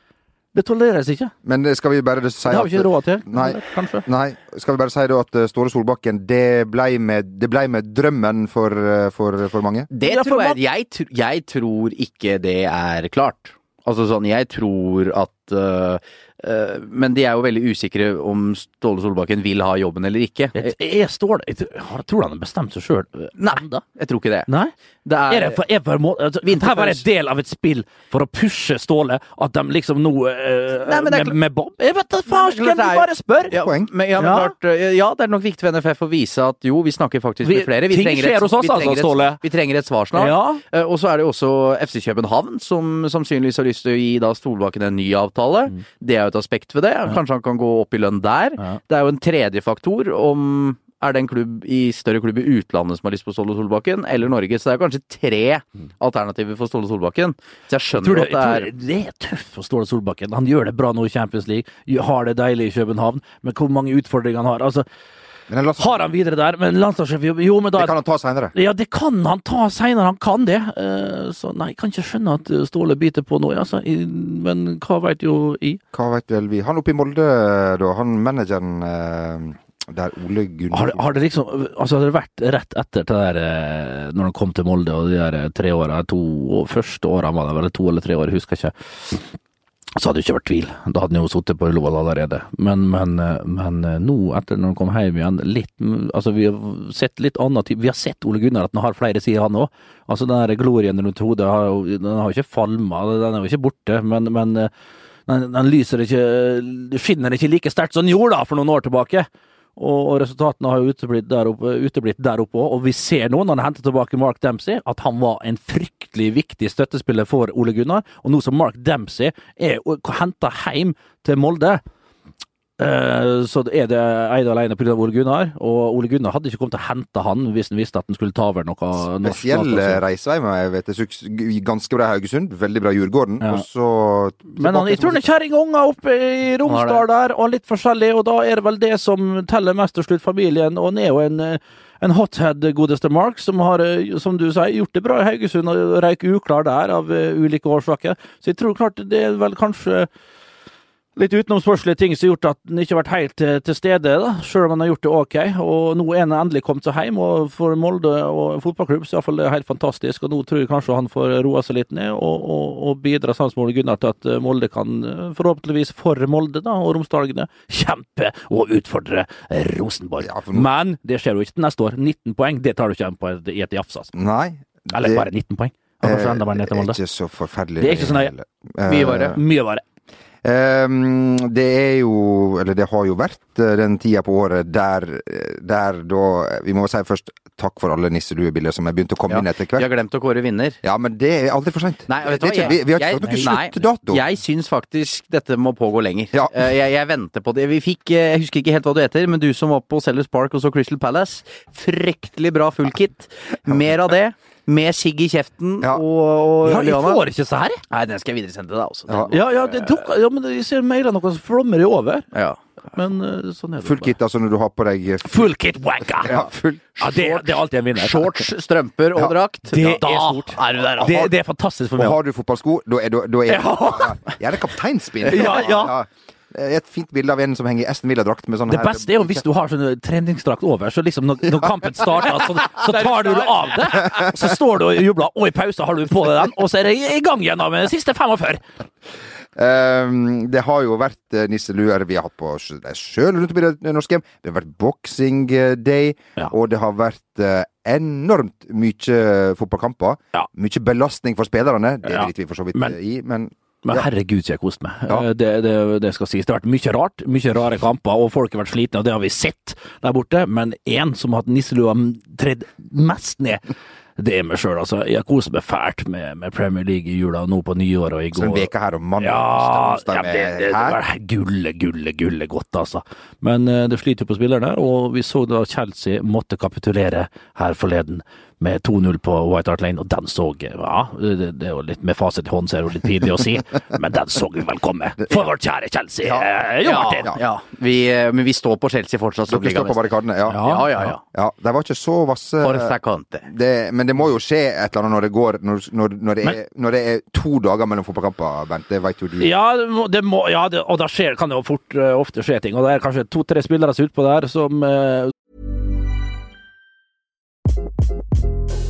S1: Det tolereres ikke.
S2: Men eh, skal vi bare si
S1: Det har vi ikke
S2: at
S1: råd til.
S2: Nei.
S1: Kanskje.
S2: Nei, skal vi bare si da at eh, Ståle Solbakken, det blei med, det blei med drømmen for, eh, for, for mange?
S3: Det
S1: Ja, for
S3: tror jeg,
S1: man-
S3: jeg, tr- jeg tror ikke det er klart. Altså sånn, jeg tror at øh, øh, Men de er jo veldig usikre om Ståle Solbakken vil ha jobben eller ikke. Jeg,
S1: Jeg, jeg står der. Jeg tror- har- tror du han har bestemt seg sjøl?
S3: Nei. jeg tror ikke det.
S1: Nei?
S3: Det
S1: Er
S3: er,
S1: det for, er for må, altså, her var det en del av et spill for å pushe Ståle, at de liksom nå eh,
S3: Nei, men det
S1: med,
S3: er klart-
S1: med Bob Jeg vet da faen!
S3: Nei, men
S1: Skal
S3: det er
S1: vi
S3: jo-
S1: bare spørre?
S3: ja,
S2: poeng.
S3: Men, ja, men
S1: Ja.
S3: Klart, øh, ja, det er nok viktig for NFF å vise at jo, vi snakker faktisk
S1: Vi-
S3: med flere. Vi
S1: ting
S3: trenger
S1: skjer
S3: et,
S1: hos oss,
S3: vi
S1: altså,
S3: trenger
S1: Ståle.
S3: et, vi trenger et svar snart.
S1: Ja.
S3: Eh, Og så er det jo også FC København som sannsynligvis har lyst til å gi da Stolbakken en ny avtale. Det er jo et aspekt ved det. Kanskje han kan gå opp i lønn der.
S1: Mm. Ja.
S3: Det er jo en tredje faktor om er det en klubb i større klubb i utlandet som har lyst på Ståle Solbakken, eller Norge. Så det er kanskje tre alternativer for Ståle Solbakken. Så jeg
S1: Mm. Tror
S3: skjønner
S1: du,
S3: at det
S1: tror
S3: er
S1: du det er tøft for Ståle Solbakken. Han gjør det bra nå i Champions League, har det deilig i København, men hvor mange utfordringer han har. Altså,
S2: Men den lasten,
S1: har han videre der, men landslagssjef Jo, jo, men da
S2: det kan han ta seinere.
S1: Ja, det kan han ta seinere, han kan det. Eh, Så nei, jeg kan ikke skjønne at Ståle biter på nå, altså. I- Men hva veit jo i?
S2: Hva veit vel vi. Han oppe i Molde, da. Han manageren eh, der, Ole
S1: Har,
S2: Gunnar
S1: det- har det liksom Altså, hadde det vært rett etter det der eh, Når han kom til Molde og de der eh, tre åra, to og første åra var det vel, to eller tre år, jeg husker ikke. Så hadde det ikke vært tvil. Da hadde han jo sittet på Ullevål allerede. Men, men, eh, men eh, nå, etter når han kom hjem igjen, litt mm, Altså, vi har sett litt annet type Vi har sett Ole Gunnar at han har flere sider, han òg. Altså, den der glorien rundt hodet har jo Den har jo ikke falma, den er jo ikke borte, men, men eh, den, den lyser ikke Skinner ikke like sterkt som den gjorde da, for noen år tilbake. Og, og resultatene har jo uteblitt der oppe, uteblitt der oppe også. Og vi ser nå, når han henter tilbake Mark Dempsey, at han var en fryktelig viktig støttespiller for Ole Gunnar. Og nå som Mark Dempsey er henta hjem til Molde, eh, så er det ene og alene pga. Ole Gunnar. Og Ole Gunnar hadde ikke kommet til å hente han hvis han visste at han skulle ta over noe norsk
S2: Spesiell eh,
S1: landslag.
S2: reisevei med jeg vet, det er suks- g- ganske bra i Haugesund, veldig bra i Djurgården,
S1: Ja.
S2: og så
S1: Men han, jeg tror det er kjerring og unger oppe i Romsdal der, og litt forskjellig, og da er det vel det som teller mest til slutt, familien. Og han er jo en, eh, en hothead, godeste Mark, som har, eh, som du sier, gjort det bra i Haugesund, og røyk uklar der av eh, ulike årsaker. Så jeg tror klart det er vel kanskje Litt utenomspørslige ting som har gjort at han ikke har vært helt til, til stede, da, selv om han har gjort det ok. Og nå er han endelig kommet seg hjem, og for Molde og fotballklubb så er det iallfall helt fantastisk. Og nå tror jeg kanskje han får roa seg litt ned og, og, og bidra sammen med Ole Gunnar til at eh, Molde kan, eh, forhåpentligvis for Molde da, og Romsdalgene, kjempe og utfordre Rosenborg.
S2: Ja, for nå-
S1: Men det skjer jo ikke til neste år. 19 poeng, det tar du ikke hjem på et- i et jafs, altså.
S2: Nei.
S1: Eller bare
S2: Eh,
S1: 19 poeng. Ja, Kanskje enda mer ned til
S2: er
S1: Molde.
S2: ikke så forferdelig.
S1: Det er ikke så nøye.
S2: Eh,
S3: Mye verre.
S1: Mye verre.
S2: Ehm, det er jo, eller det har jo vært eh, den tida på året der, eh, der da Vi må si først takk for alle nisseluebilder som er begynt å komme
S3: Ja.
S2: inn etter
S3: Vi
S2: hvert.
S3: har glemt å kåre vinner.
S2: Ja, men det er aldri for seint.
S3: Nei, vet du hva?
S2: Vi, vi har ikke,
S3: Jeg-
S2: fått noen
S3: nei,
S2: sluttdato.
S3: Jeg syns faktisk dette må pågå lenger.
S2: Ja.
S3: Eh, Jeg, jeg venter på det. Vi fikk, eh, jeg husker ikke helt hva du heter, men du som var på Sellers Park og så Crystal Palace. Fryktelig bra full kit. Mer av det. Med sigg i kjeften
S2: Ja.
S3: og, og
S1: Ja, jeg
S3: Liana.
S1: får ikke så her.
S3: Nei, den skal jeg videresende altså. til deg også.
S2: Ja.
S1: Ja, ja, det dukker, ja men jeg ser mailer noe som flommer i over.
S3: Ja.
S1: Men eh, sånn er det.
S2: Full
S1: bare.
S2: kit, altså når du har på deg eh,
S1: Full kit wanker!
S2: ja, full,
S1: Ja, det, det er alltid en vinner.
S3: Shorts, strømper og
S2: Ja.
S3: drakt.
S1: Det
S3: Ja,
S1: er stort.
S3: Da er du der, altså.
S1: Det, det er fantastisk for
S2: Og
S1: meg.
S2: har du fotballsko, da er, da, da er
S1: Ja.
S2: Ja, det er kapteinspinn.
S1: Ja, ja.
S2: Et fint bilde av en som henger i Aston Villa-drakt med sånn
S1: Det beste er jo hvis du har sånn treningsdrakt over, så liksom når, når kampen starter, så, så tar du det av deg. Så står du og jubler, og i pausen har du på deg den, og så er det i gang igjen av de siste 45.
S2: Ehm, det har jo vært eh, nisseluer vi har hatt på sj- nei, sjøl rundt om i det norske hjem. Det har vært boxing eh, day,
S1: Ja.
S2: og det har vært eh, enormt mye fotballkamper.
S1: Ja.
S2: Mye belastning for spillerne, det
S1: Ja.
S2: driter vi for så vidt
S1: Men-
S2: eh, i, men
S1: Men
S2: Ja.
S1: herregud, så jeg koste meg.
S2: Ja.
S1: Eh, Det, det, det skal sies. Det har vært mye rart, mye rare kamper, og folk har vært slitne, og det har vi sett der borte. Men én som har hatt nisselua tredd mest ned, det er meg sjøl, altså. Jeg koser meg fælt med, med Premier League i jula, nå på nyåret og i
S2: så en
S1: går.
S2: uke her og mandag
S1: Ja,
S2: onsdag,
S1: ja
S2: onsdag
S1: det, det, det
S2: med her.
S1: var gullet, gullet, gullet godt, altså. Men eh, det sliter jo på spillerne, og vi så da Chelsea måtte kapitulere her forleden med 2-0 på White Hart Lane, og den så eh, Ja, det, det er jo litt med fasit i hånd, så er det jo litt pinlig å si, men den så vi vel komme. For vårt kjære Chelsea!
S2: Ja.
S1: eh, Jo,
S3: Ja,
S1: Martin!
S3: ja. Vi, eh, men vi står på Chelsea fortsatt. som
S2: Dere står på
S3: ligamester.
S2: barrikadene, ja.
S1: Ja.
S2: ja.
S3: Ja, ja, ja.
S2: De var ikke så vasse
S3: For Sacante.
S2: det, men det må jo skje et eller annet når det går Når, når, når, det,
S1: Men-
S2: er, når det er to dager mellom fotballkamper, Bent. Det veit jo du.
S1: Ja, det må, det må, ja det, og da skjer, kan det jo fort eh, ofte skje ting. Og det er kanskje to-tre spillere som er utpå der som eh,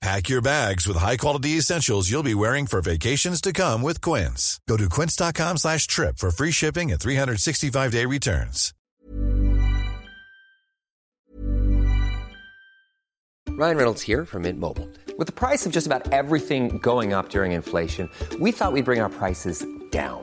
S4: Pack your bags with high-quality essentials you'll be wearing for vacations to come with Quince. Go to quince.com slash trip for free shipping and 365-day returns.
S5: Ryan Reynolds here from Mint Mobile. With the price of just about everything going up during inflation, we thought we'd bring our prices down.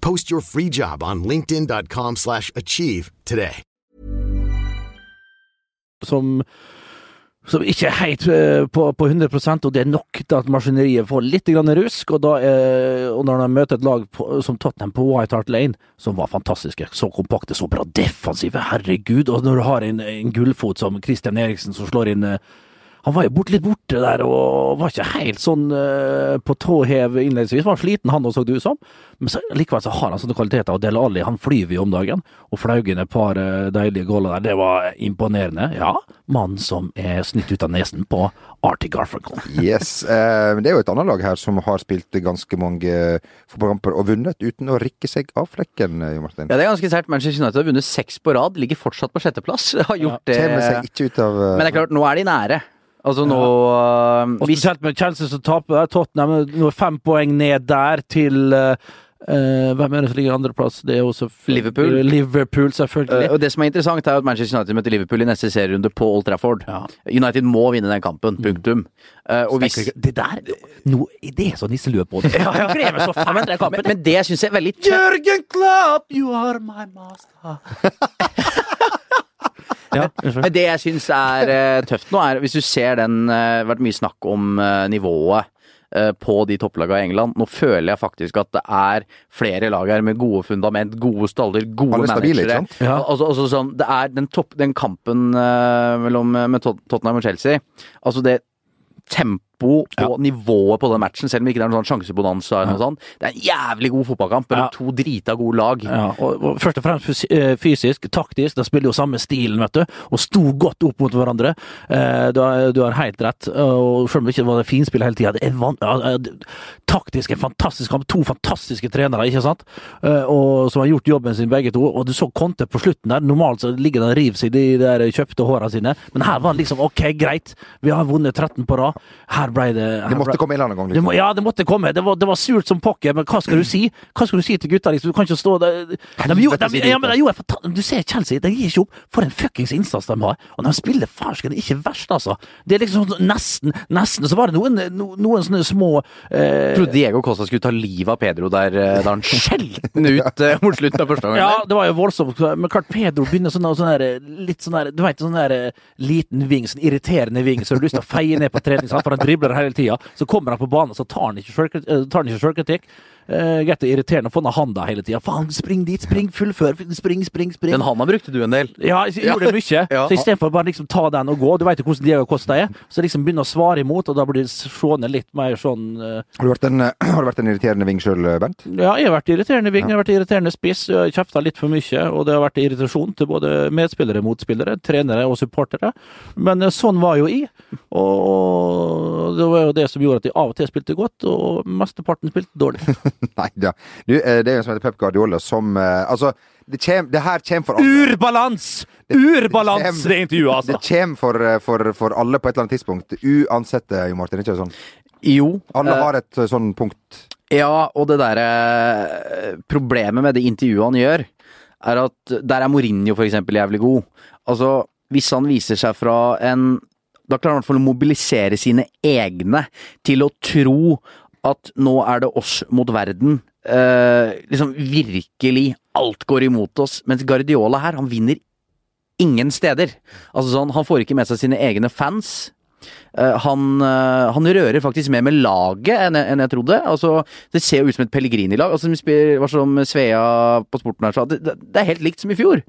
S6: Post your free job on linkedin.com/achieve slash achieve today.
S1: som som ikke er helt eh, på, på 100 og det er nok til at maskineriet får litt grann rusk. Og, da, eh, og når de møter et lag på, som Tottenham på White Hart Lane, som var fantastiske, så kompakte, så bra defensive, herregud. Og når du har en, en gullfot som Christian Eriksen, som slår inn eh, Han var jo bort, litt borte der og var ikke helt sånn eh, på tå hev innledningsvis. Han var sliten, han også, så det ut som. Men så, likevel så har han sånne kvaliteter. Og Del Alli han flyr jo om dagen og flaug inn et par eh, deilige gåler der. Det var imponerende. Ja, mannen som er snytt ut av nesen på Artie Garfunkel.
S2: Yes. Eh, men det er jo et annet lag her som har spilt ganske mange fotballkamper og vunnet uten å rikke seg av flekken, eh, Jo Martin.
S3: Ja, det er ganske sært. Manchester United har vunnet seks på rad, ligger fortsatt på sjetteplass. Har gjort det.
S2: Kommer seg ikke ut av eh,
S3: Men det er klart, nå er de nære. Altså nå eh,
S1: Og
S3: hvis,
S1: spesielt med Chelsea som taper der. Tottenham nå er fem poeng ned der til eh, eh, Hvem er det som ligger andreplass? Det er jo selvfølgelig
S3: Liverpool. Eh,
S1: Liverpool, selvfølgelig.
S3: Og det som er interessant, er jo at Manchester United møter Liverpool i neste serierunde på Old Trafford. United må vinne den kampen. Punktum. Eh, og hvis
S1: Tenker ikke- Det der nå, Det er så nisselue på det. Ja, så fælt, den kampen.
S3: men, men det syns jeg er veldig tøft.
S1: Jørgen Klopp, you are my master. ja, unnskyld.
S3: Det jeg syns er eh, tøft nå, er hvis du ser den eh, vært mye snakk om eh, nivået eh, på de topplagene i England. Nå føler jeg faktisk at det er flere lag her med gode fundament, gode staller, gode
S2: Alle er stabile,
S3: managere.
S2: ikke
S1: Ja.
S3: Al- Altså, altså sånn, det er den, topp, den kampen eh, mellom eh, med Tot- Tottenham og Chelsea Altså det tempo og nivået på den matchen, selv om ikke det er noen sånn sjansebonanza eller noe sånt. Det er en jævlig god fotballkamp mellom
S1: Ja.
S3: to drita gode lag.
S1: Ja, og, og først og fremst fysi- eh, fysisk, taktisk. De spiller jo samme stilen, vet du, og sto godt opp mot hverandre. Eh, Du har, du har helt rett. og Selv om det ikke var det finspill hele tida. Taktisk en fantastisk kamp. To fantastiske trenere, ikke sant? Eh, Og Som har gjort jobben sin, begge to. Og du så Conte på slutten der. Normalt så ligger han og river seg i de der kjøpte håra sine, men her var han liksom OK, greit. Vi har vunnet 13 på rad. Her ble det her
S2: Det måtte
S1: ble-
S2: komme en eller annen gang.
S1: det må,
S2: Liksom.
S1: ja, det måtte komme. Det var, det var surt som pokker, men hva skal du si? Hva skal du si til gutta? Liksom? Du kan ikke stå der de, gjorde- de, ja, men de, gjorde fortan- Du ser Chelsea, de gir ikke opp. For en fuckings innsats de har. Og de spiller farsken ikke verst, altså. Det er liksom sånn nesten, nesten. Så var det noen, no, noen sånne små eh,
S3: Jeg trodde Diego Costa skulle ta livet av Pedro der eh, da han skjelte den ut eh, mot slutten av første omgang.
S1: Ja, det var jo voldsomt. Men klart, Pedro begynner sånn sånn der, litt sånn der, du vet, sånn der eh, liten ving, sånn irriterende ving, så du har lyst til å feie ned på trening, sant? for han dribler hele tida. Så kommer han på banen, så tar han ikke sjølkriti- eh, tar han ikke sjølkritikk. Eh, Greit og irriterende å få ned handa hele tida. Faen, spring dit, spring, fullfør, spring, spring, spring.
S3: Den handa brukte du en del.
S1: Ja, jeg gjorde det mye.
S3: Ja.
S1: Så istedenfor bare liksom ta den og gå, du veit jo hvordan Diego Costa er, så liksom begynne å svare imot, og da blir det seende litt mer sånn eh,
S2: Har du vært en, eh, har du vært en irriterende ving sjøl, Bernt?
S1: Ja, jeg har vært irriterende ving, jeg har vært irriterende spiss, jeg har kjefta litt for mye, og det har vært irritasjon til både medspillere, motspillere, trenere og supportere. Men eh, sånn var jo jeg, og og det var jo det som gjorde at jeg av og til spilte godt, og mesteparten spilte dårlig.
S2: Nei da. Du, eh, det er jo en som heter Pep Guardiola som eh, Altså, det, kjem, det her kommer for alle.
S1: Urbalans! Urbalans, det intervjuet,
S2: Det
S1: altså!
S2: kommer for, eh, for, for alle på et eller annet tidspunkt. Uansett, eh, Jo Martin. Ikke sånn.
S3: Jo.
S2: Alle
S3: eh,
S2: har et eh, sånn punkt.
S3: Ja, og det derre eh, Problemet med det intervjuet han gjør, er at der er Mourinho for eksempel jævlig god. Altså, hvis han viser seg fra en Da klarer han i hvert fall å mobilisere sine egne til å tro at nå er det oss mot verden. Eh, liksom virkelig alt går imot oss. Mens Guardiola her, han vinner ingen steder. Altså sånn, Han får ikke med seg sine egne fans. Eh, han, eh, han rører faktisk mer med laget enn jeg, enn jeg trodde. Altså, det ser jo ut som et Pellegrini-lag. Altså, de spiller- var som Svea på Sporten her sa, det, det det er helt likt som i fjor.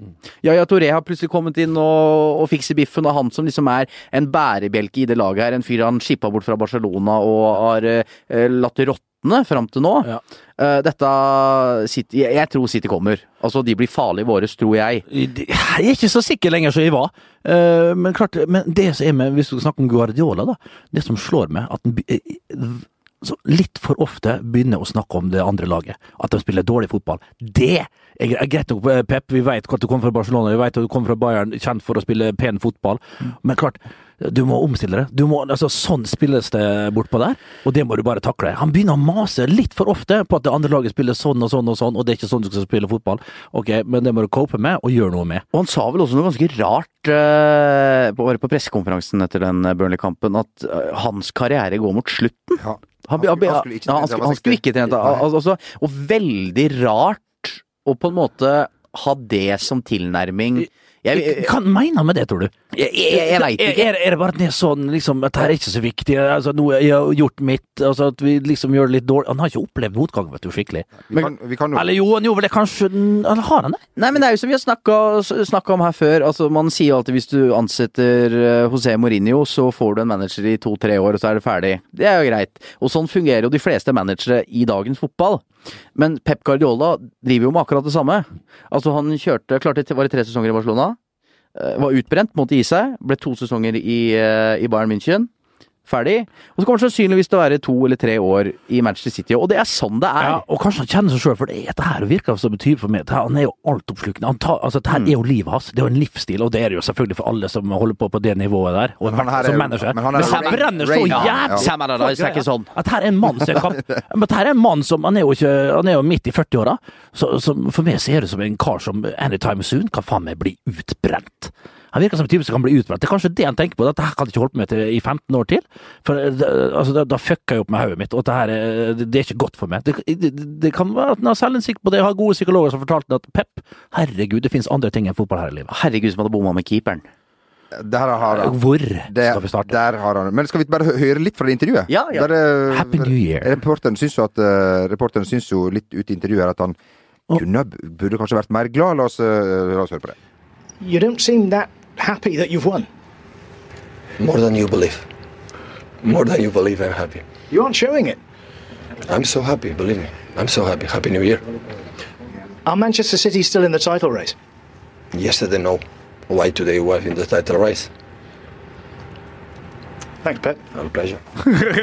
S3: Yaya Toré har plutselig kommet inn og, og fikser biffen, og han som liksom er en bærebjelke i det laget her, en fyr han skippa bort fra Barcelona og har eh, eh, latt det råtne fram til nå.
S1: Ja.
S3: Eh, dette City, jeg, jeg tror City kommer. Altså, de blir farlige våre, tror jeg.
S1: Jeg er ikke så sikker lenger som jeg var. Eh, Men klart, men det som er med, hvis du snakker om Guardiola, da, det som slår meg, at den, be- eh, så litt for ofte begynner å snakke om det andre laget. At de spiller dårlig fotball. Det er gre- greit nok, eh, Pep. Vi vet at du kommer fra Barcelona, vi vet at du kommer fra Bayern, kjent for å spille pen fotball. Men klart, du må omstille deg. Du må, altså, sånn spilles det bortpå der, og det må du bare takle. Han begynner å mase litt for ofte på at det andre laget spiller sånn og sånn og sånn, og det er ikke sånn du skal spille fotball. Ok, men det må du cope med, og gjøre noe med.
S3: Og han sa vel også noe ganske rart eh, på- bare på pressekonferansen etter den eh, Burnley-kampen, at eh, hans karriere går mot slutten.
S2: Ja.
S3: Han,
S2: Han skulle- han skulle ikke
S3: han, han, ja,
S2: trent,
S3: han,
S2: han
S3: skulle-
S2: var
S3: han skulle ikke
S2: 60.
S3: trent.
S2: Nei.
S3: al- Altså, og veldig rart å på en måte ha det som tilnærming Jeg-
S1: Hva mener han med det, tror du?
S3: Jeg, jeg, jeg veit ikke.
S1: Er, er det bare at det er sånn liksom, at her er ikke så viktig, altså, nå har jeg gjort mitt, altså, at vi liksom gjør det litt dårlig Han har ikke opplevd motgang, vet du, skikkelig.
S2: Vi kan, vi kan jo
S1: Eller jo, han gjorde vel det kanskje Eller har han det?
S3: Nei, men det er jo som vi har snakka snakka om her før. Altså, man sier jo alltid hvis du ansetter eh, José Mourinho, så får du en manager i to-tre år, og så er det ferdig. Det er jo greit. Og sånn fungerer jo de fleste managere i dagens fotball. Men Pep Guardiola driver jo med akkurat det samme. Altså, han kjørte klarte, Var det tre sesonger i Barcelona? Eh, Var utbrent, måtte gi seg. Ble to sesonger i, eh, i Bayern München. Ferdig. Og så kommer det sannsynligvis til å være to eller tre år i Manchester City. Og det er sånn det er.
S1: Ja, og kanskje han kjenner seg sjøl, for det er dette her virker som betyr for meg. Dette, her- han er jo altoppslukende. Han tar- Altså, dette her er jo livet hans. Det er jo en livsstil, og det er det jo selvfølgelig for alle som holder på på det nivået der. Og
S2: Men han her
S1: som
S2: er jo-
S1: manager.
S2: men han er jo
S1: han
S2: Ray-
S1: brenner så jævlig
S2: Ray- Ja, ja.
S3: Sam Allardyce er ikke sånn.
S1: At her er en mann som kan Men dette her er en mann som Han er jo, ikke, han er jo midt i 40-åra, så som for meg ser det ut som en kar som anytime soon kan faen meg bli utbrent. Han virker som en type som kan bli utbrent. Det er kanskje det han tenker på. Dette her kan jeg ikke holde på med til, i 15 år til. For eh, da- altså, da, da fucker jeg opp med hodet mitt, og dette her, er- det, det er ikke godt for meg. Det, det, det kan være at han har selvinnsikt på det, har gode psykologer som fortalte at Pep, herregud, det finnes andre ting enn fotball her i livet.
S3: Herregud, som hadde bomma med keeperen.
S2: Der har han
S1: Hvor
S2: der,
S1: skal vi starte?
S2: der har han Men skal vi bare hø- høre litt fra det intervjuet?
S3: Ja, ja.
S2: Der, eh,
S1: Happy New Year.
S2: Reporteren syns jo, at, eh, reporteren syns jo litt ut i intervjuet her at han kunne, burde kanskje vært mer glad. La oss, eh, la oss høre på det.
S7: You don't seem that happy that you've won.
S5: More than you believe. More than you believe, I'm happy.
S7: You aren't showing it.
S5: I'm so happy, believe me. I'm so happy. Happy New Year.
S7: Are Manchester City still in the title race?
S5: Yesterday, no. Why today, why in the title race?
S7: Thanks, Pep.
S5: Our pleasure.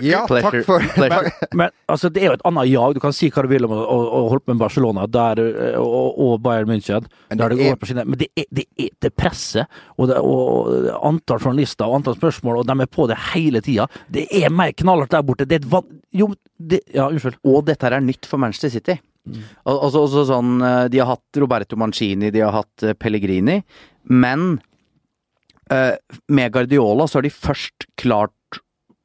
S2: Ja, takk for
S3: Pleasure.
S1: Men altså, det er jo et annet jag. Du kan si hva du vil om å, å, å holde på med Barcelona der, eh, og, og Bayern München.
S2: Men
S1: der
S2: det
S1: det går
S2: er-
S1: på skinner. Men det er, det er det presset, og, det, og antall journalister og antall spørsmål, og de er på det hele tida. Det er mer knallhardt der borte. Det er et van... Jo, det Ja, unnskyld.
S3: Og dette her er nytt for Manchester City. Al altså, også sånn, eh, de har hatt Roberto Mancini, de har hatt eh, Pellegrini, men eh, med Guardiola så har de først klart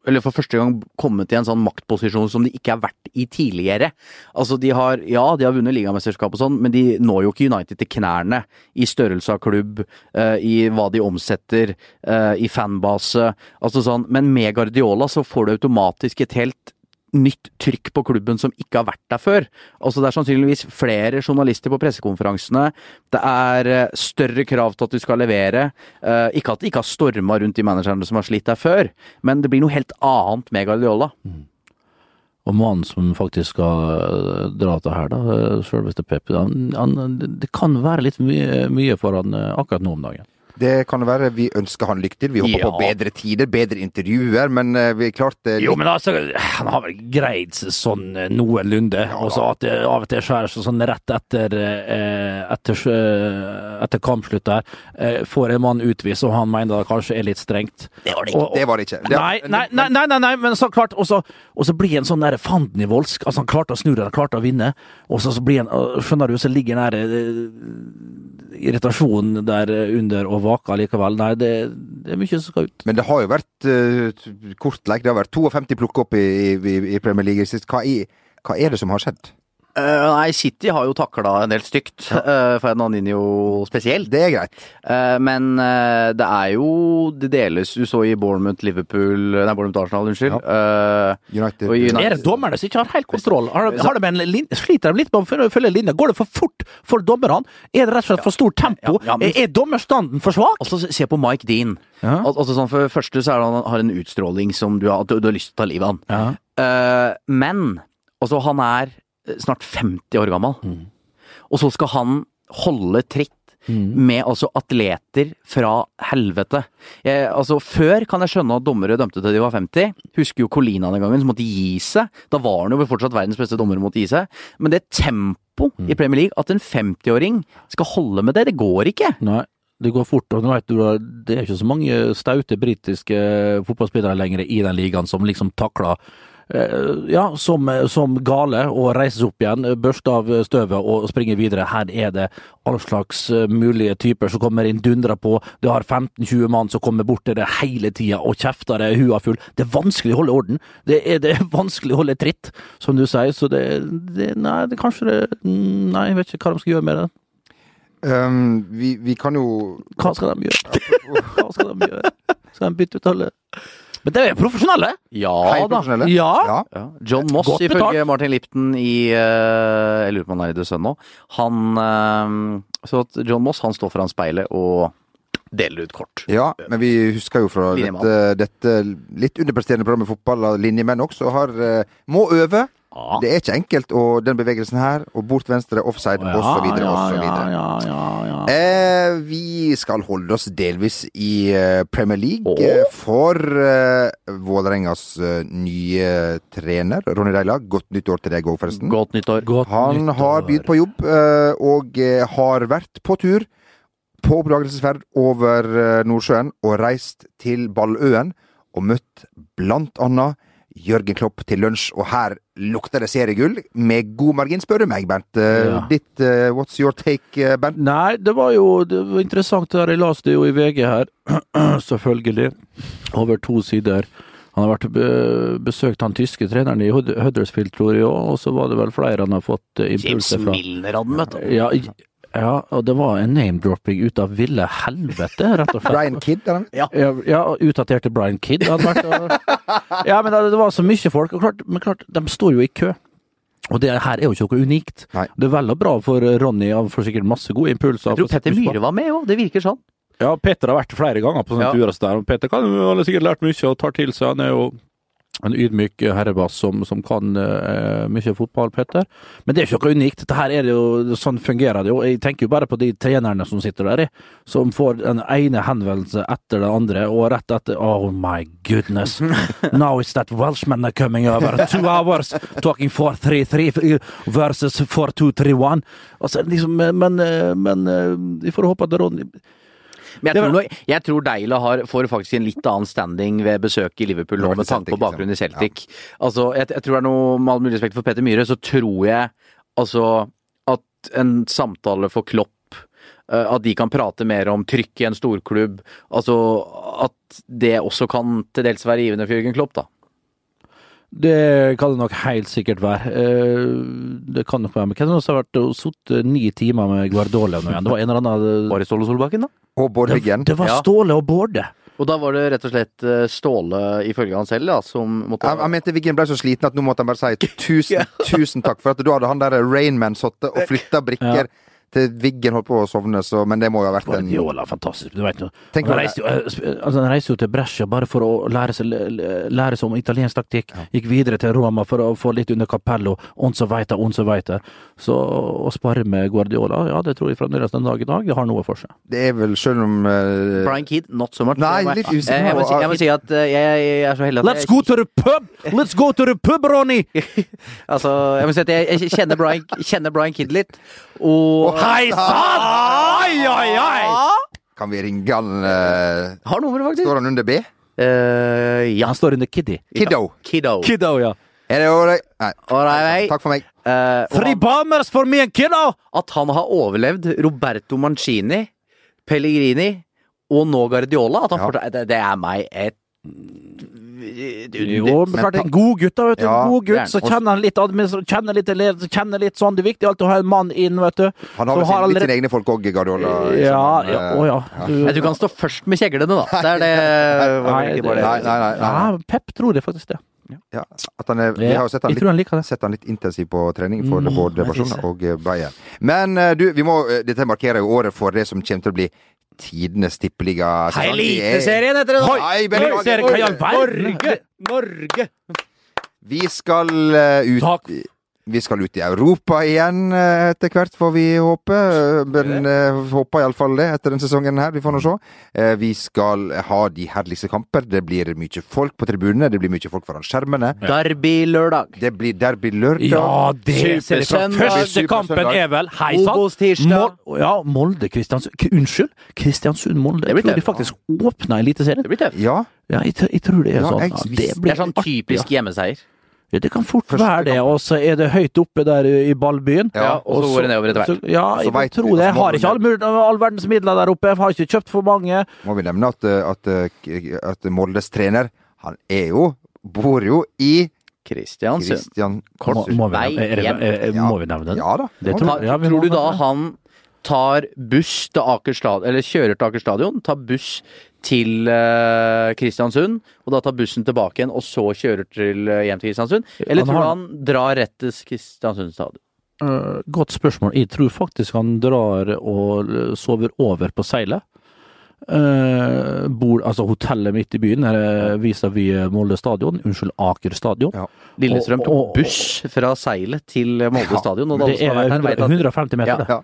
S3: eller for første gang kommet i en sånn maktposisjon som de ikke har vært i tidligere. Altså de har, ja de har vunnet ligamesterskap og sånn, men de når jo ikke United til knærne i størrelse av klubb, eh, i hva de omsetter, eh, i fanbase, altså sånn. Men med Guardiola så får du automatisk et helt nytt trykk på klubben som ikke har vært der før. Altså Det er sannsynligvis flere journalister på pressekonferansene. Det er eh, større krav til at du skal levere. Eh, Ikke at det ikke har storma rundt de managerne som har slitt der før, men det blir noe helt annet med Guardiola.
S1: Og mannen som faktisk skal eh, dra til her, da, eh, selveste Pep, han, han, det kan være litt mye, mye for han eh, akkurat nå om dagen.
S2: Det kan være vi ønsker han lykke til. Vi håper
S1: Ja.
S2: på bedre tider, bedre intervjuer, men eh, vi er klart eh,
S1: Jo, men altså, han har vel greid seg sånn eh, noenlunde. Og så at det av og til skjærer seg sånn rett etter, eh, etter, eh, etter kampslutt der. eh, Får en mann utvist, og han mener det kanskje er litt strengt. Det var det ikke.
S2: Det var det ikke. Det-
S1: nei, nei, nei, nei, nei, nei, men så klart. Og så, og så blir han sånn der fandenivoldsk. Altså, han klarte å snu det, han klarte å vinne. Og så, så blir han, og skjønner du, så ligger den der eh, irritasjonen der eh, under og vaker likevel. Nei, det, det er mye som skal ut.
S2: Men det har jo vært uh, kort leik. Det har vært 52 plukket opp i, i, i Premier League sist. Hva, i- hva er det som har skjedd?
S3: Eh, nei, City har jo takla en del stygt, uh, Fernandinho spesielt.
S2: Det er greit.
S3: Eh, men eh, det er jo Det deles. Du så i Bournemouth, Liverpool Nei, Bournemouth Arsenal, unnskyld. Eh,
S2: United.
S3: og United.
S1: Det er det dommerne som ikke har helt kontroll. Har, de- har de en lin, sliter de litt med å følge- følge linja? Går det for fort for dommerne? Er det rett og slett for stort tempo?
S3: Ja, ja, men-
S1: Er- Er dommerstanden for svak?
S3: Altså, se på Mike Dean. Al altså, sånn, for det første så er det, han har han en utstråling som du har, at du, du har lyst til å ta livet av han. Eh, men altså, han er eh, snart 50 år gammel. Og så skal han holde tritt med altså atleter fra helvete. Jeg, altså Før kan jeg skjønne at dommere dømte til de var 50. Husker jo Colina den gangen, som måtte gi seg. Da var han jo fortsatt verdens beste dommer og måtte gi seg. Men det tempo i Premier League, at en 50-åring skal holde med det, det går ikke.
S1: Nei, det går fort. Og nå vet du, da, det er ikke så mange staute britiske fotballspillere lenger i den ligaen som liksom takler eh, ja, som, som gale, og reises opp igjen, børste av støvet og springer videre. Her er det all slags eh, mulige typer som kommer inn, dundrer på. Du har 15-20 mann som kommer bort til det hele tida og kjefter deg hua full. Det er vanskelig å holde orden. Det er, det er vanskelig å holde tritt, mm, som du sier. Så det, det Nei, det kanskje det Nei, jeg vet ikke hva de skal gjøre med det.
S2: Ehm, vi, vi kan jo
S1: Hva skal de gjøre? Hva skal de gjøre? Skal de bytte ut alle Men de er profesjonelle!
S3: Ja
S2: Hei,
S3: da.
S2: profesjonelle.
S1: Ja.
S3: Ja. John Moss,
S1: Godt
S3: ifølge
S1: betalt.
S3: Martin Lipton i eh, Jeg lurer på om han er i The Sun nå. Han eh, Så at John Moss han står foran speilet og deler ut kort.
S2: Ja,
S1: Eh,
S2: men vi husker jo fra
S3: Linjemann.
S2: dette, dette litt underpresterende programmet fotball av linjemenn også har eh, Må øve.
S3: Ja.
S2: Det er ikke enkelt, og den bevegelsen her, og bort venstre, offside, og så videre, og så videre.
S1: ja, ja, ja.
S2: Eh, vi skal holde oss delvis i eh, Premier League eh, for eh, Vålerengas eh, nye trener, Ronny Deila. Godt nytt år til deg òg, forresten.
S3: Godt nyttår.
S1: Godt
S2: Han
S1: nyttår.
S2: har begynt på jobb, eh, og eh, har vært på tur på oppdagelsesferd over eh, Nordsjøen og reist til Balløen og møtt blant annet Jørgen Klopp til lunsj, og her lukter det seriegull med god margin, spør du meg, Bernt. Eh,
S1: Ja.
S2: Ditt eh, what's your take, eh, Bernt?
S1: Nei, det var jo det var interessant det der. Jeg leste det jo i VG her, selvfølgelig. Over to sider. Han har vært be besøkt han tyske treneren i Hud- Huddersfield, tror jeg, og så var det vel flere han har fått eh,
S3: James
S1: impulser fra.
S3: Milner hadde møtt opp.
S1: Ja, i- ja, og det var en name-dropping ut av ville helvete, rett og slett.
S2: Brian Kidd, er han?
S1: Ja, ja og utdaterte Brian Kidd hadde vært og- Ja, men det det var så mye folk, og klart, men klart, de står jo i kø. Og det her er jo ikke noe unikt.
S2: Nei.
S1: Det er vel og bra for Ronny, han får sikkert masse gode impulser.
S3: Jeg tror Petter Myhre var med òg, det virker sånn.
S1: Ja, Petter har vært flere ganger på sånne
S3: Ja.
S1: turer som der, og Petter kan jo han har sikkert lært mye og tar til seg. Han er jo en ydmyk herrebass som, som kan eh, mye fotball, Petter. Men det er jo ikke noe unikt. Dette her er det jo, sånn fungerer det jo. Jeg tenker jo bare på de trenerne som sitter der, i, som får den ene henvendelse etter den andre, og rett etter Oh my goodness! Now it's that Welshman are coming over. Two hours talking 4-3-3 versus 4-2-3-1. Altså, liksom, men, men, men vi får håpe at Ronny
S3: Men jeg
S1: Det
S3: tror,
S1: var-
S3: nå- jeg tror Deila har, får faktisk en litt annen standing ved besøk i Liverpool nå,
S2: Nå er det
S3: med tanke
S2: Celtic,
S3: på bakgrunn i
S2: liksom.
S3: Celtic. Altså, jeg, jeg tror det er noe Med all mulig respekt for Petter Myhre, så tror jeg altså at en samtale for Klopp eh, at de kan prate mer om trykk i en storklubb. Altså at det også kan til dels være givende for Jørgen Klopp, da.
S1: Det kan det nok helt sikkert være. Eh, Det kan nok være. Men hvem er det som har vært og sittet ni timer med Guardiola nå igjen? Det var en eller annen eh,
S3: Bare Ståle Solbakken, da.
S2: Og Bård Hyggen.
S1: Det var
S3: Ja.
S1: Ståle og Bårde.
S3: Og da var det rett og slett eh, Ståle, ifølge han selv, da, som måtte
S2: Jeg, jeg mente Viggen ble så sliten at nå måtte han bare si tusen, tusen takk, for at da hadde han der Rainman sittet og flytta brikker til Viggen holdt på å sovne, så Men det må jo ha vært en
S1: Guardiola, fantastisk. Du vet nå.
S2: Tenk
S1: Han
S2: på det.
S1: reiste, jo, eh, sp- altså, han reiste jo til Brescia bare for å lære seg, lære seg om italiensk taktikk. Gikk videre til Roma for å få litt under Capello. On så veit on så veit Så å sparre med Guardiola, ja, det tror jeg fremdeles den dag i dag det har noe for seg.
S2: Det er vel sjøl om eh,
S3: Brian Kidd, not so much.
S2: Nei,
S3: Jeg må-
S2: litt usikker
S3: Jeg, jeg, må,
S2: på-
S3: si, jeg må si at eh, jeg, jeg er så heldig at
S1: Let's
S3: jeg-
S1: go to the pub! Let's go to the pub, Ronny!
S3: Altså, jeg må si at jeg, jeg kjenner Brian, kjenner Brian Kidd litt. Og
S1: Hei sann! Ai, ai, ai!
S2: Kan vi ringe han eh,
S3: har nummeret, faktisk.
S2: Står han under B?
S3: Eh, ja.
S1: Han står under Kiddy.
S2: Kiddo.
S3: Kiddo.
S1: Kiddo, ja.
S2: Er det ålreit? Nei.
S3: Alright.
S2: Takk for meg.
S3: Eh, og
S1: Three
S3: han,
S1: bombers for me and kiddo!
S3: at han har overlevd Roberto Mancini, Pellegrini og nå Guardiola at han
S2: Ja.
S3: fortsatt- det, det er meg et et
S1: Jo,
S3: under.
S1: men klart, en god gutt, da, vet du.
S2: Ja,
S1: En god gutt,
S3: gjerne.
S1: så kjenner han litt administrasjon, kjenner litt elever, kjenner litt sånn. Det er viktig alltid å ha en mann inn, vet du.
S2: Han har
S1: Så
S2: vel sin, litt
S1: allerede-
S2: sine egne folk òg, Guardiola.
S1: Ja,
S2: som han,
S1: ja,
S2: eh,
S1: å ja. Du-
S3: Jeg tror ikke han står først med kjeglene, da. Det er det var
S1: Nei,
S3: vel
S1: det-
S3: ikke bare
S2: Nei, nei, nei, nei.
S1: Ja, Pep tror det faktisk det.
S2: Ja, at han er, vi har jo sett han
S1: jeg
S2: litt
S1: tror han Mm, liker det.
S2: sett han litt intensiv på trening for både Barcelona og eh, Bayern. Men eh, du, vi må, eh, dette markerer jo året for det som kommer til å bli tidenes tippeliga.
S3: Eliteserien heter det! da.
S2: Hei,
S1: Oi, ser jeg hva i all verden?
S3: Norge!
S2: Vi skal eh, ut
S1: Takk.
S2: Vi skal ut i Europa igjen eh, etter hvert, får vi håpe. Eh, Men eh, håper iallfall det etter denne sesongen her. Vi får nå se. Eh, Vi skal ha de herligste kamper. Det blir mye folk på tribunene. Det blir mye folk foran skjermene.
S3: Derby lørdag.
S2: Det blir derby lørdag.
S1: Ja, det ser jeg fra.
S3: Supersøndag.
S1: Første kampen
S2: Supersøndag.
S1: er vel Hei sann!
S3: Obos tirsdag.
S1: Mol- Ja, Molde Kristiansund K- Unnskyld, Kristiansund-Molde.
S3: Det
S1: Jeg
S3: blir
S1: tror de
S3: tøft.
S1: faktisk åpna Eliteserien.
S3: Det blir tøft.
S2: Ja,
S1: Ja, jeg, tr- jeg tror det er
S2: Ja,
S1: sånn.
S2: jeg-
S1: Ja, det,
S3: Det
S1: blir
S3: er sånn
S1: artig,
S3: typisk hjemmeseier.
S1: Ja, det kan fort være det. Og så er det høyt oppe der i ballbyen.
S2: Ja,
S3: og så går det nedover etter hvert.
S1: så- Ja,
S2: Og så
S1: jeg
S2: vet vi-
S1: tror det.
S2: og så
S1: Jeg
S2: må
S1: har
S2: vi
S1: ikke all, mul- all verdens midler der oppe. Jeg har ikke kjøpt for mange.
S2: må vi nevne at, eh, at, eh, at Moldes trener, han er jo Bor jo i
S3: Kristiansund.
S2: Christian
S1: Må, må, vi,
S3: Vei
S1: nevne, er, det-
S3: hjem.
S1: er, er,
S2: Ja.
S1: må vi nevne den?
S2: Ja da.
S1: Det
S2: må
S1: tror
S2: vi.
S1: jeg. Ja, vi må
S3: Tror du da
S1: nevne det.
S3: han tar buss til Aker stadion, eller kjører til Aker stadion, tar buss til eh, Kristiansund, og da tar bussen tilbake igjen, og så kjører til eh, hjem til Kristiansund? Eller
S1: Han
S3: tror du
S1: har-
S3: han drar rett til Kristiansund stadion?
S1: Eh, godt spørsmål. Jeg tror faktisk han drar og eh, sover over på seilet. Eh, bor, altså hotellet midt i byen, her er vis-à-vis Molde stadion, unnskyld, Aker stadion.
S2: Ja.
S3: Lillestrøm
S1: Og- og-
S3: tok buss fra seilet til eh, Molde stadion, og alle
S1: Det
S3: som
S1: er
S3: har vært her, vet
S1: 100,
S3: at
S1: 150 meter,
S3: Ja.
S1: det.
S2: Ja.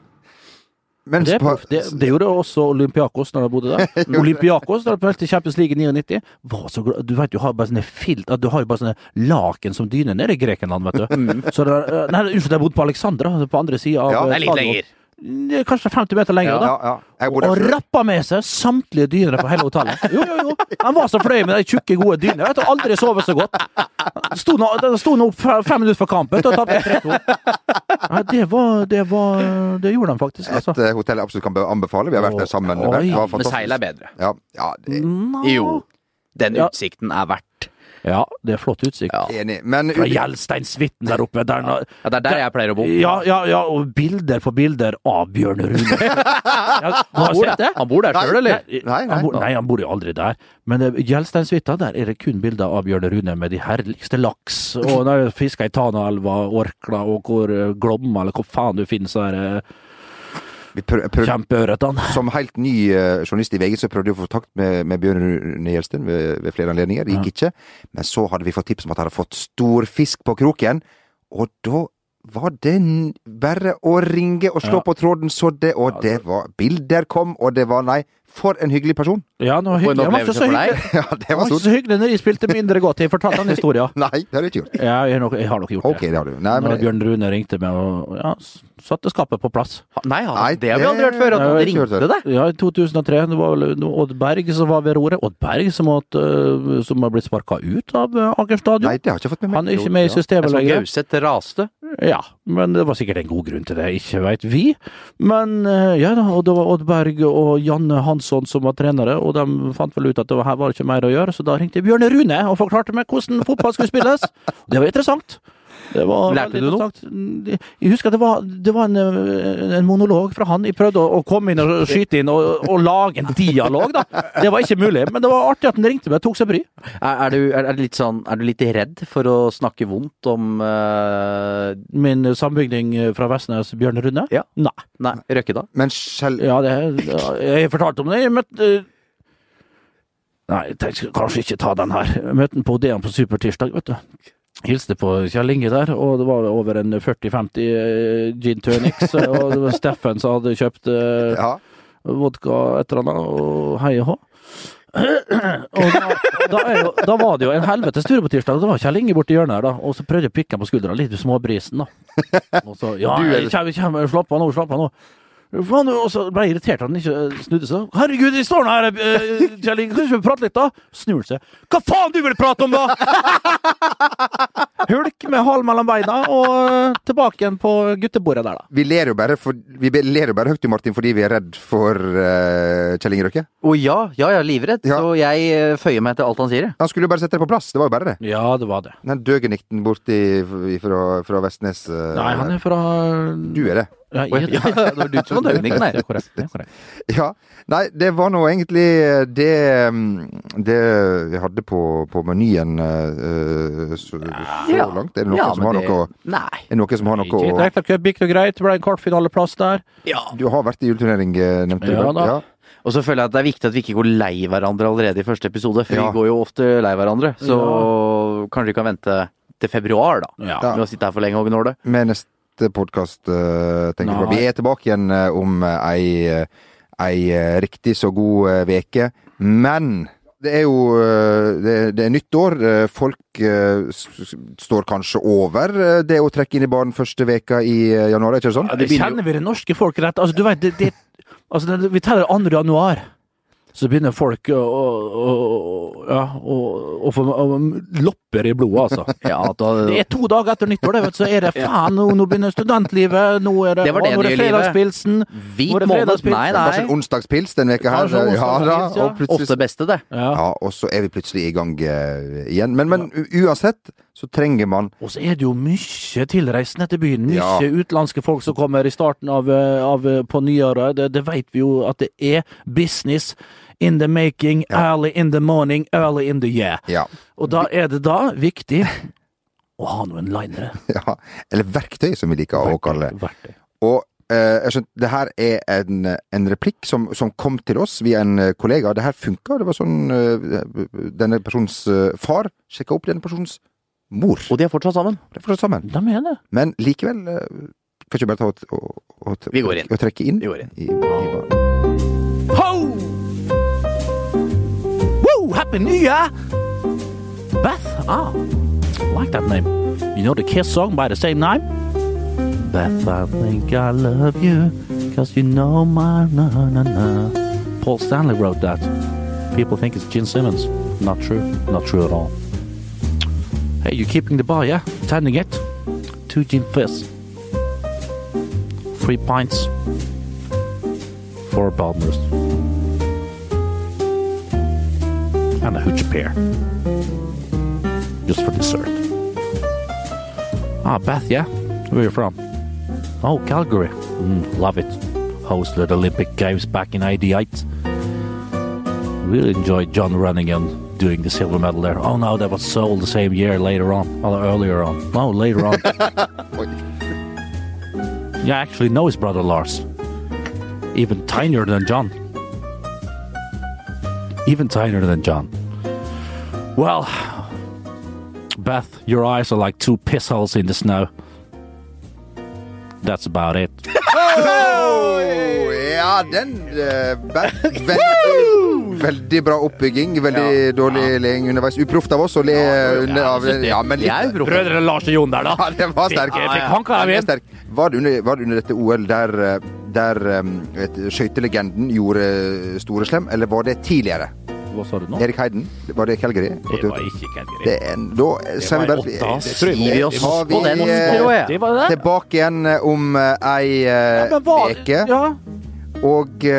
S2: Mens
S1: Det, er
S2: på-
S1: proff. det, det gjorde også Olympiakos når de bodde der. Olympiakos når de spilte Champions League i 99 var så glad. Du vet, du har bare sånne filt, at du har jo bare sånne laken som dyne nede i Grekenland, vet du. Så det, er- nei, unnskyld, jeg bodde på Alexandra, altså på andre sida av
S2: Mm. Ja, det
S3: det er litt lenger.
S1: lenger. Kanskje 50 meter lenger,
S2: ja,
S1: da.
S2: ja. Jeg bor der
S1: Og
S2: selv.
S1: rappa med seg samtlige dyner på hele hotellet. Jo, jo, jo. Han var så fornøyd med de tjukke, gode dynene. Vet du, aldri sovet så godt. Sto nå, den sto nå opp fe- fem minutter før kampen og tapte 3-2. Nei, Det var Det var Det gjorde de faktisk, altså.
S2: Et eh, hotell jeg absolutt kan be- anbefale. Vi har vært der sammen.
S1: Oi. Mm.
S2: Det var
S3: Men
S2: fantastisk.
S3: seilet er bedre.
S2: Ja, ja det
S3: Jo. Den
S1: Ja.
S3: utsikten er verdt.
S1: Ja, det er flott utsikt.
S3: Ja.
S2: er enig. Men
S1: Fra Gjelsteinsvitten der oppe. Der, nå-
S3: Ja, det er der jeg pleier å bo.
S1: ja, ja, ja, og bilder på bilder av Bjørn Rune. Ja, har du sett det?
S3: Han bor der sjøl, eller?
S1: Nei,
S2: Nei, nei.
S1: Han bor, nei, han bor jo aldri der. Men eh, Gjelsteinshytta, der er det kun bilder av Bjørn Rune med de herligste laks. Og når jeg fisker i Tanaelva, Orkla og hvor eh, Glomma, eller hvor faen du finner eh, så er det
S2: vi prøv, prøv,
S1: kjempeørretene.
S2: som helt ny eh, journalist i VG så prøvde jeg å få kontakt med, med Bjørn Rune Gjelsten ved, ved flere anledninger. Det gikk ikke. Men så hadde vi fått tips om at han hadde fått stor fisk på kroken, og da var det n- bare å ringe og slå på tråden, så det Og det var Bilder kom, og det var Nei, for en hyggelig person!
S1: Ja, nå,
S3: For en
S1: jeg var ikke
S3: opplevelse
S1: så
S3: for
S1: hyggelig.
S3: deg.
S2: Ja, det
S1: Jeg
S2: var
S1: var ikke
S2: stort.
S1: så hyggelig når jeg spilte mindre godt. Jeg fortalte han historien.
S2: Nei, det har du ikke gjort.
S1: Ja, jeg, har nok- jeg har nok gjort
S2: Ok,
S1: det.
S2: det har du. Nei,
S1: Når
S2: men
S1: Bjørn Rune ringte meg og ja, s- satte skapet på plass.
S3: Ha- Nei, han,
S2: Nei,
S3: det har vi
S2: det-
S3: aldri hørt før.
S2: Nei,
S3: At han
S2: det har vi ikke hørt
S3: ringte
S2: før.
S3: deg.
S1: Ja, i 2003. Det var vel Odd Berg som var ved roret. Odd Berg som, måtte, øh, som har blitt sparka ut av øh, Aker stadion.
S2: Nei, det har jeg ikke fått med meg.
S1: Han er ikke med i
S3: Jeg
S1: systemet
S3: så
S1: lenger.
S3: Gauseth raste.
S1: Ja, men det var sikkert en god grunn til det, ikke veit vi. Men eh, ja da, og det var Odd Berg og Janne Hansson som var trenere, og de fant vel ut at det var, her var det ikke mer å gjøre, så da ringte jeg Bjørne Rune og forklarte meg hvordan fotball skulle spilles. Det var interessant. Det var
S3: Lærte
S1: veldig
S3: du noe?
S1: interessant. Jeg husker at det var, det var en, eh, en monolog fra han. Jeg prøvde å, å komme inn og skyte inn og, og lage en dialog, da. Det var ikke mulig, men det var artig at han ringte meg og tok seg bry.
S3: Er, er, du, er, er, du litt sånn, er du litt redd for å snakke vondt om eh,
S1: Min sambygding fra Vestnes, Bjørne Rune?
S3: Ja.
S1: Nei.
S3: Nei, Røkke da?
S2: Men selv
S1: Ja, det, jeg fortalte om det. Jeg møtte eh, Nei, jeg tenkte jeg skulle kanskje ikke ta den her. Jeg møtte han på Odeon på supertirsdag, vet du. Hilste på Kjell Inge der, og det var over en 40-50 eh, gin tonics. Og det var Steffen som hadde kjøpt eh,
S2: Ja.
S1: vodka et eller annet, og hei og hå. og da, da, er jo, da var det jo en helvetes tur på tirsdag. og Det var Kjell Inge borti hjørnet her, da. Og så prøvde jeg å pikke ham på skuldra, litt i småbrisen, da. Og så Ja, jeg kommer, jeg kommer, slapp av nå, slapp av nå. Faen, og så ble jeg irritert at han ikke eh, snudde seg. 'Herregud, jeg står nå her, eh, Kjell Inge, kan du ikke prate litt, da?' Snur han seg. 'Hva faen du vil prate om, da?' Hulk med halen mellom beina, og eh, tilbake igjen på guttebordet der, da.
S2: Vi ler jo bare, for, vi ler jo bare høyt, jo, Martin, fordi vi er redd for eh, Kjell Inge Røkke.
S3: Å ja, ja, jeg er livredd.
S2: Ja.
S3: Så jeg eh, føyer meg til alt han sier. jeg.
S2: Han skulle jo bare sette det på plass. Det var jo bare det.
S1: Ja, det var det.
S2: Den døgenikten borti fra, fra Vestnes eh,
S1: Nei, han er fra eh,
S2: Du er det.
S1: Ja,
S3: Å, ja, ja, det var du som var døgnik, nei.
S1: Det er korrekt. Det er korrekt.
S2: Ja. Nei, det var nå egentlig eh, det mm, Det vi hadde på, på menyen eh, eh, så, så langt. Er det noen
S3: Ja,
S2: som har
S3: men det-
S2: noe,
S3: Nei.
S2: er det noen som har noe å
S1: Direkte cup gikk det greit, det ble en kvartfinaleplass der.
S3: Ja.
S2: Du har vært i juleturnering, eh, nevnte du.
S1: Ja
S2: Bernt.
S1: da.
S3: Og så føler jeg at det er viktig at vi ikke går lei hverandre allerede i første episode. For
S2: Ja.
S3: vi går jo ofte lei hverandre. Så kanskje vi kan vente til februar, da.
S1: Ja.
S3: Med å sitte her for lenge og gnåle.
S2: Med neste podkast, eh, tenker jeg på.
S1: Nei.
S2: Vi er tilbake igjen eh, om eh, ei, eh, ei eh, riktig så god veke. Men det er jo eh, det, det er nytt år. Eh, Folk eh, s- s- står kanskje over eh, det å trekke inn i baren første veka i eh, januar, er ikke det sånn?
S1: det Kjenner vi det norske folk rett? Altså, du vet, det, det, altså, det, vi teller 2. januar. Så begynner folk å, å, å, ja, å, å få å, å, loppe klumper i blodet, altså.
S3: Ja, at du hadde-
S1: Det er to dager etter nyttår, det, vet du, så er det faen, nå, nå begynner studentlivet, nå er det,
S3: Det var det
S1: å, nå er
S3: nye livet.
S1: fredagspilsen.
S3: Hvit
S1: Nå er det
S3: måned.
S1: fredagspils.
S3: Nei,
S2: Det var ikke
S3: nei.
S2: en onsdagspils denne veka her.
S1: Kanskje
S2: Ja, da,
S1: onsdagspils, ja.
S2: og plutselig
S3: Ofte beste, det.
S1: Ja.
S2: Ja, og så er vi plutselig i gang eh, igjen. Men, men u- uansett så trenger man
S1: Og så er det jo mye tilreisende til byen. Mye
S2: Ja.
S1: utenlandske folk som kommer i starten av, eh, av eh, på nyåret. Det, det vet vi jo at det er business in the making, early in the morning, early in the year.
S2: ja,
S1: Og da er det da viktig å ha noen linere.
S2: ja, Eller verktøy, som vi liker å kalle det.
S1: Verktøy.
S2: Og eh, jeg skjønte, det her er en, en replikk som, som kom til oss via en eh, kollega. Det her funka. Det var sånn eh, Denne personens eh, far sjekka opp denne personens mor.
S3: Og de er fortsatt sammen.
S2: Det er fortsatt sammen.
S1: De er det.
S2: Men likevel eh, Kan ikke bare ta og, og, og,
S3: Vi går inn.
S2: og trekke inn?
S3: Vi går inn.
S2: I, i,
S1: Ho! Woo! Happy New Year! Beth? Ah, I like that name. You know the Kiss song by the same name? Beth, I think I love you, cause you know my na na na. Paul Stanley wrote that. People think it's Gene Simmons. Not true. Not true at all. Hey, you keeping the bar, yeah? Tending it. Two gin fizz. Three pints. Four Balmers. and a hooch pear. Just for dessert. Ah, Bath, yeah? Where are you from? Oh, Calgary. Mm, love it. Hosted the Olympic Games back in 88. Really enjoyed John Runningham doing the silver medal there. Oh no, that was Seoul the same year later on. Well, earlier on. No, later on. yeah, I actually know his brother Lars. Even tinier than John even tighter than John. Well, Beth, your eyes are like two piss holes in the snow. That's about it.
S2: Å, ja, den eh, Bent, veldig, veldig bra oppbygging. Veldig dårlig leing underveis. Uproft av oss å le under av Ja, men
S3: Jeg er
S2: litt
S3: jo proff.
S1: Brødrene Lars og Jon der, da.
S2: ja, den var sterk.
S1: Fikk- fikk han karaven?
S2: Ja, den er sterk. Var det under, var det under dette OL der, eh, der eh, vet du, skøytelegenden gjorde store slem, eller var det tidligere?
S1: Hva sa du nå?
S2: Erik Heiden, var det Calgary?
S1: Det var ikke Calgary.
S2: Det er en, da sier vi
S1: var
S2: bare
S1: åtte, ass.
S2: det
S1: Tror jeg
S3: vi oss
S2: tar
S3: på den,
S2: vi, eh,
S3: tror jeg.
S1: Det var det.
S2: Tilbake igjen eh, om eh, ei eh,
S1: Men var-
S2: veke.
S1: Ja.
S2: Og eh,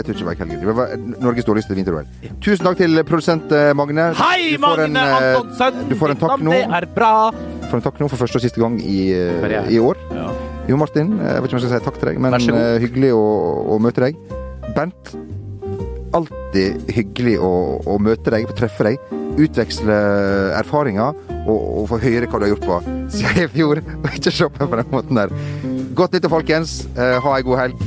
S2: jeg tror ikke det var i Calgary. Det var Norges dårligste vinter-OL. Tusen takk til produsent eh, Magne.
S1: Hei,
S2: Du får en,
S1: Magne
S2: eh,
S1: Antonsen!
S2: Du får en takk
S1: Ditt navn,
S2: nå.
S1: Det er bra.
S2: Du får en takk nå for første og siste gang i, eh,
S3: Karriere.
S2: i år. Jo Martin, jeg vet ikke om jeg skal si takk til deg, men
S3: Vær så god.
S2: eh, hyggelig å, å møte deg. Bent, alltid hyggelig å, å møte deg, få treffe deg, utveksle erfaringer og, og få høre hva du har gjort på siden i fjor, og ikke se på meg på den måten der. Godt nyttår, folkens. Eh, Ha ei god helg.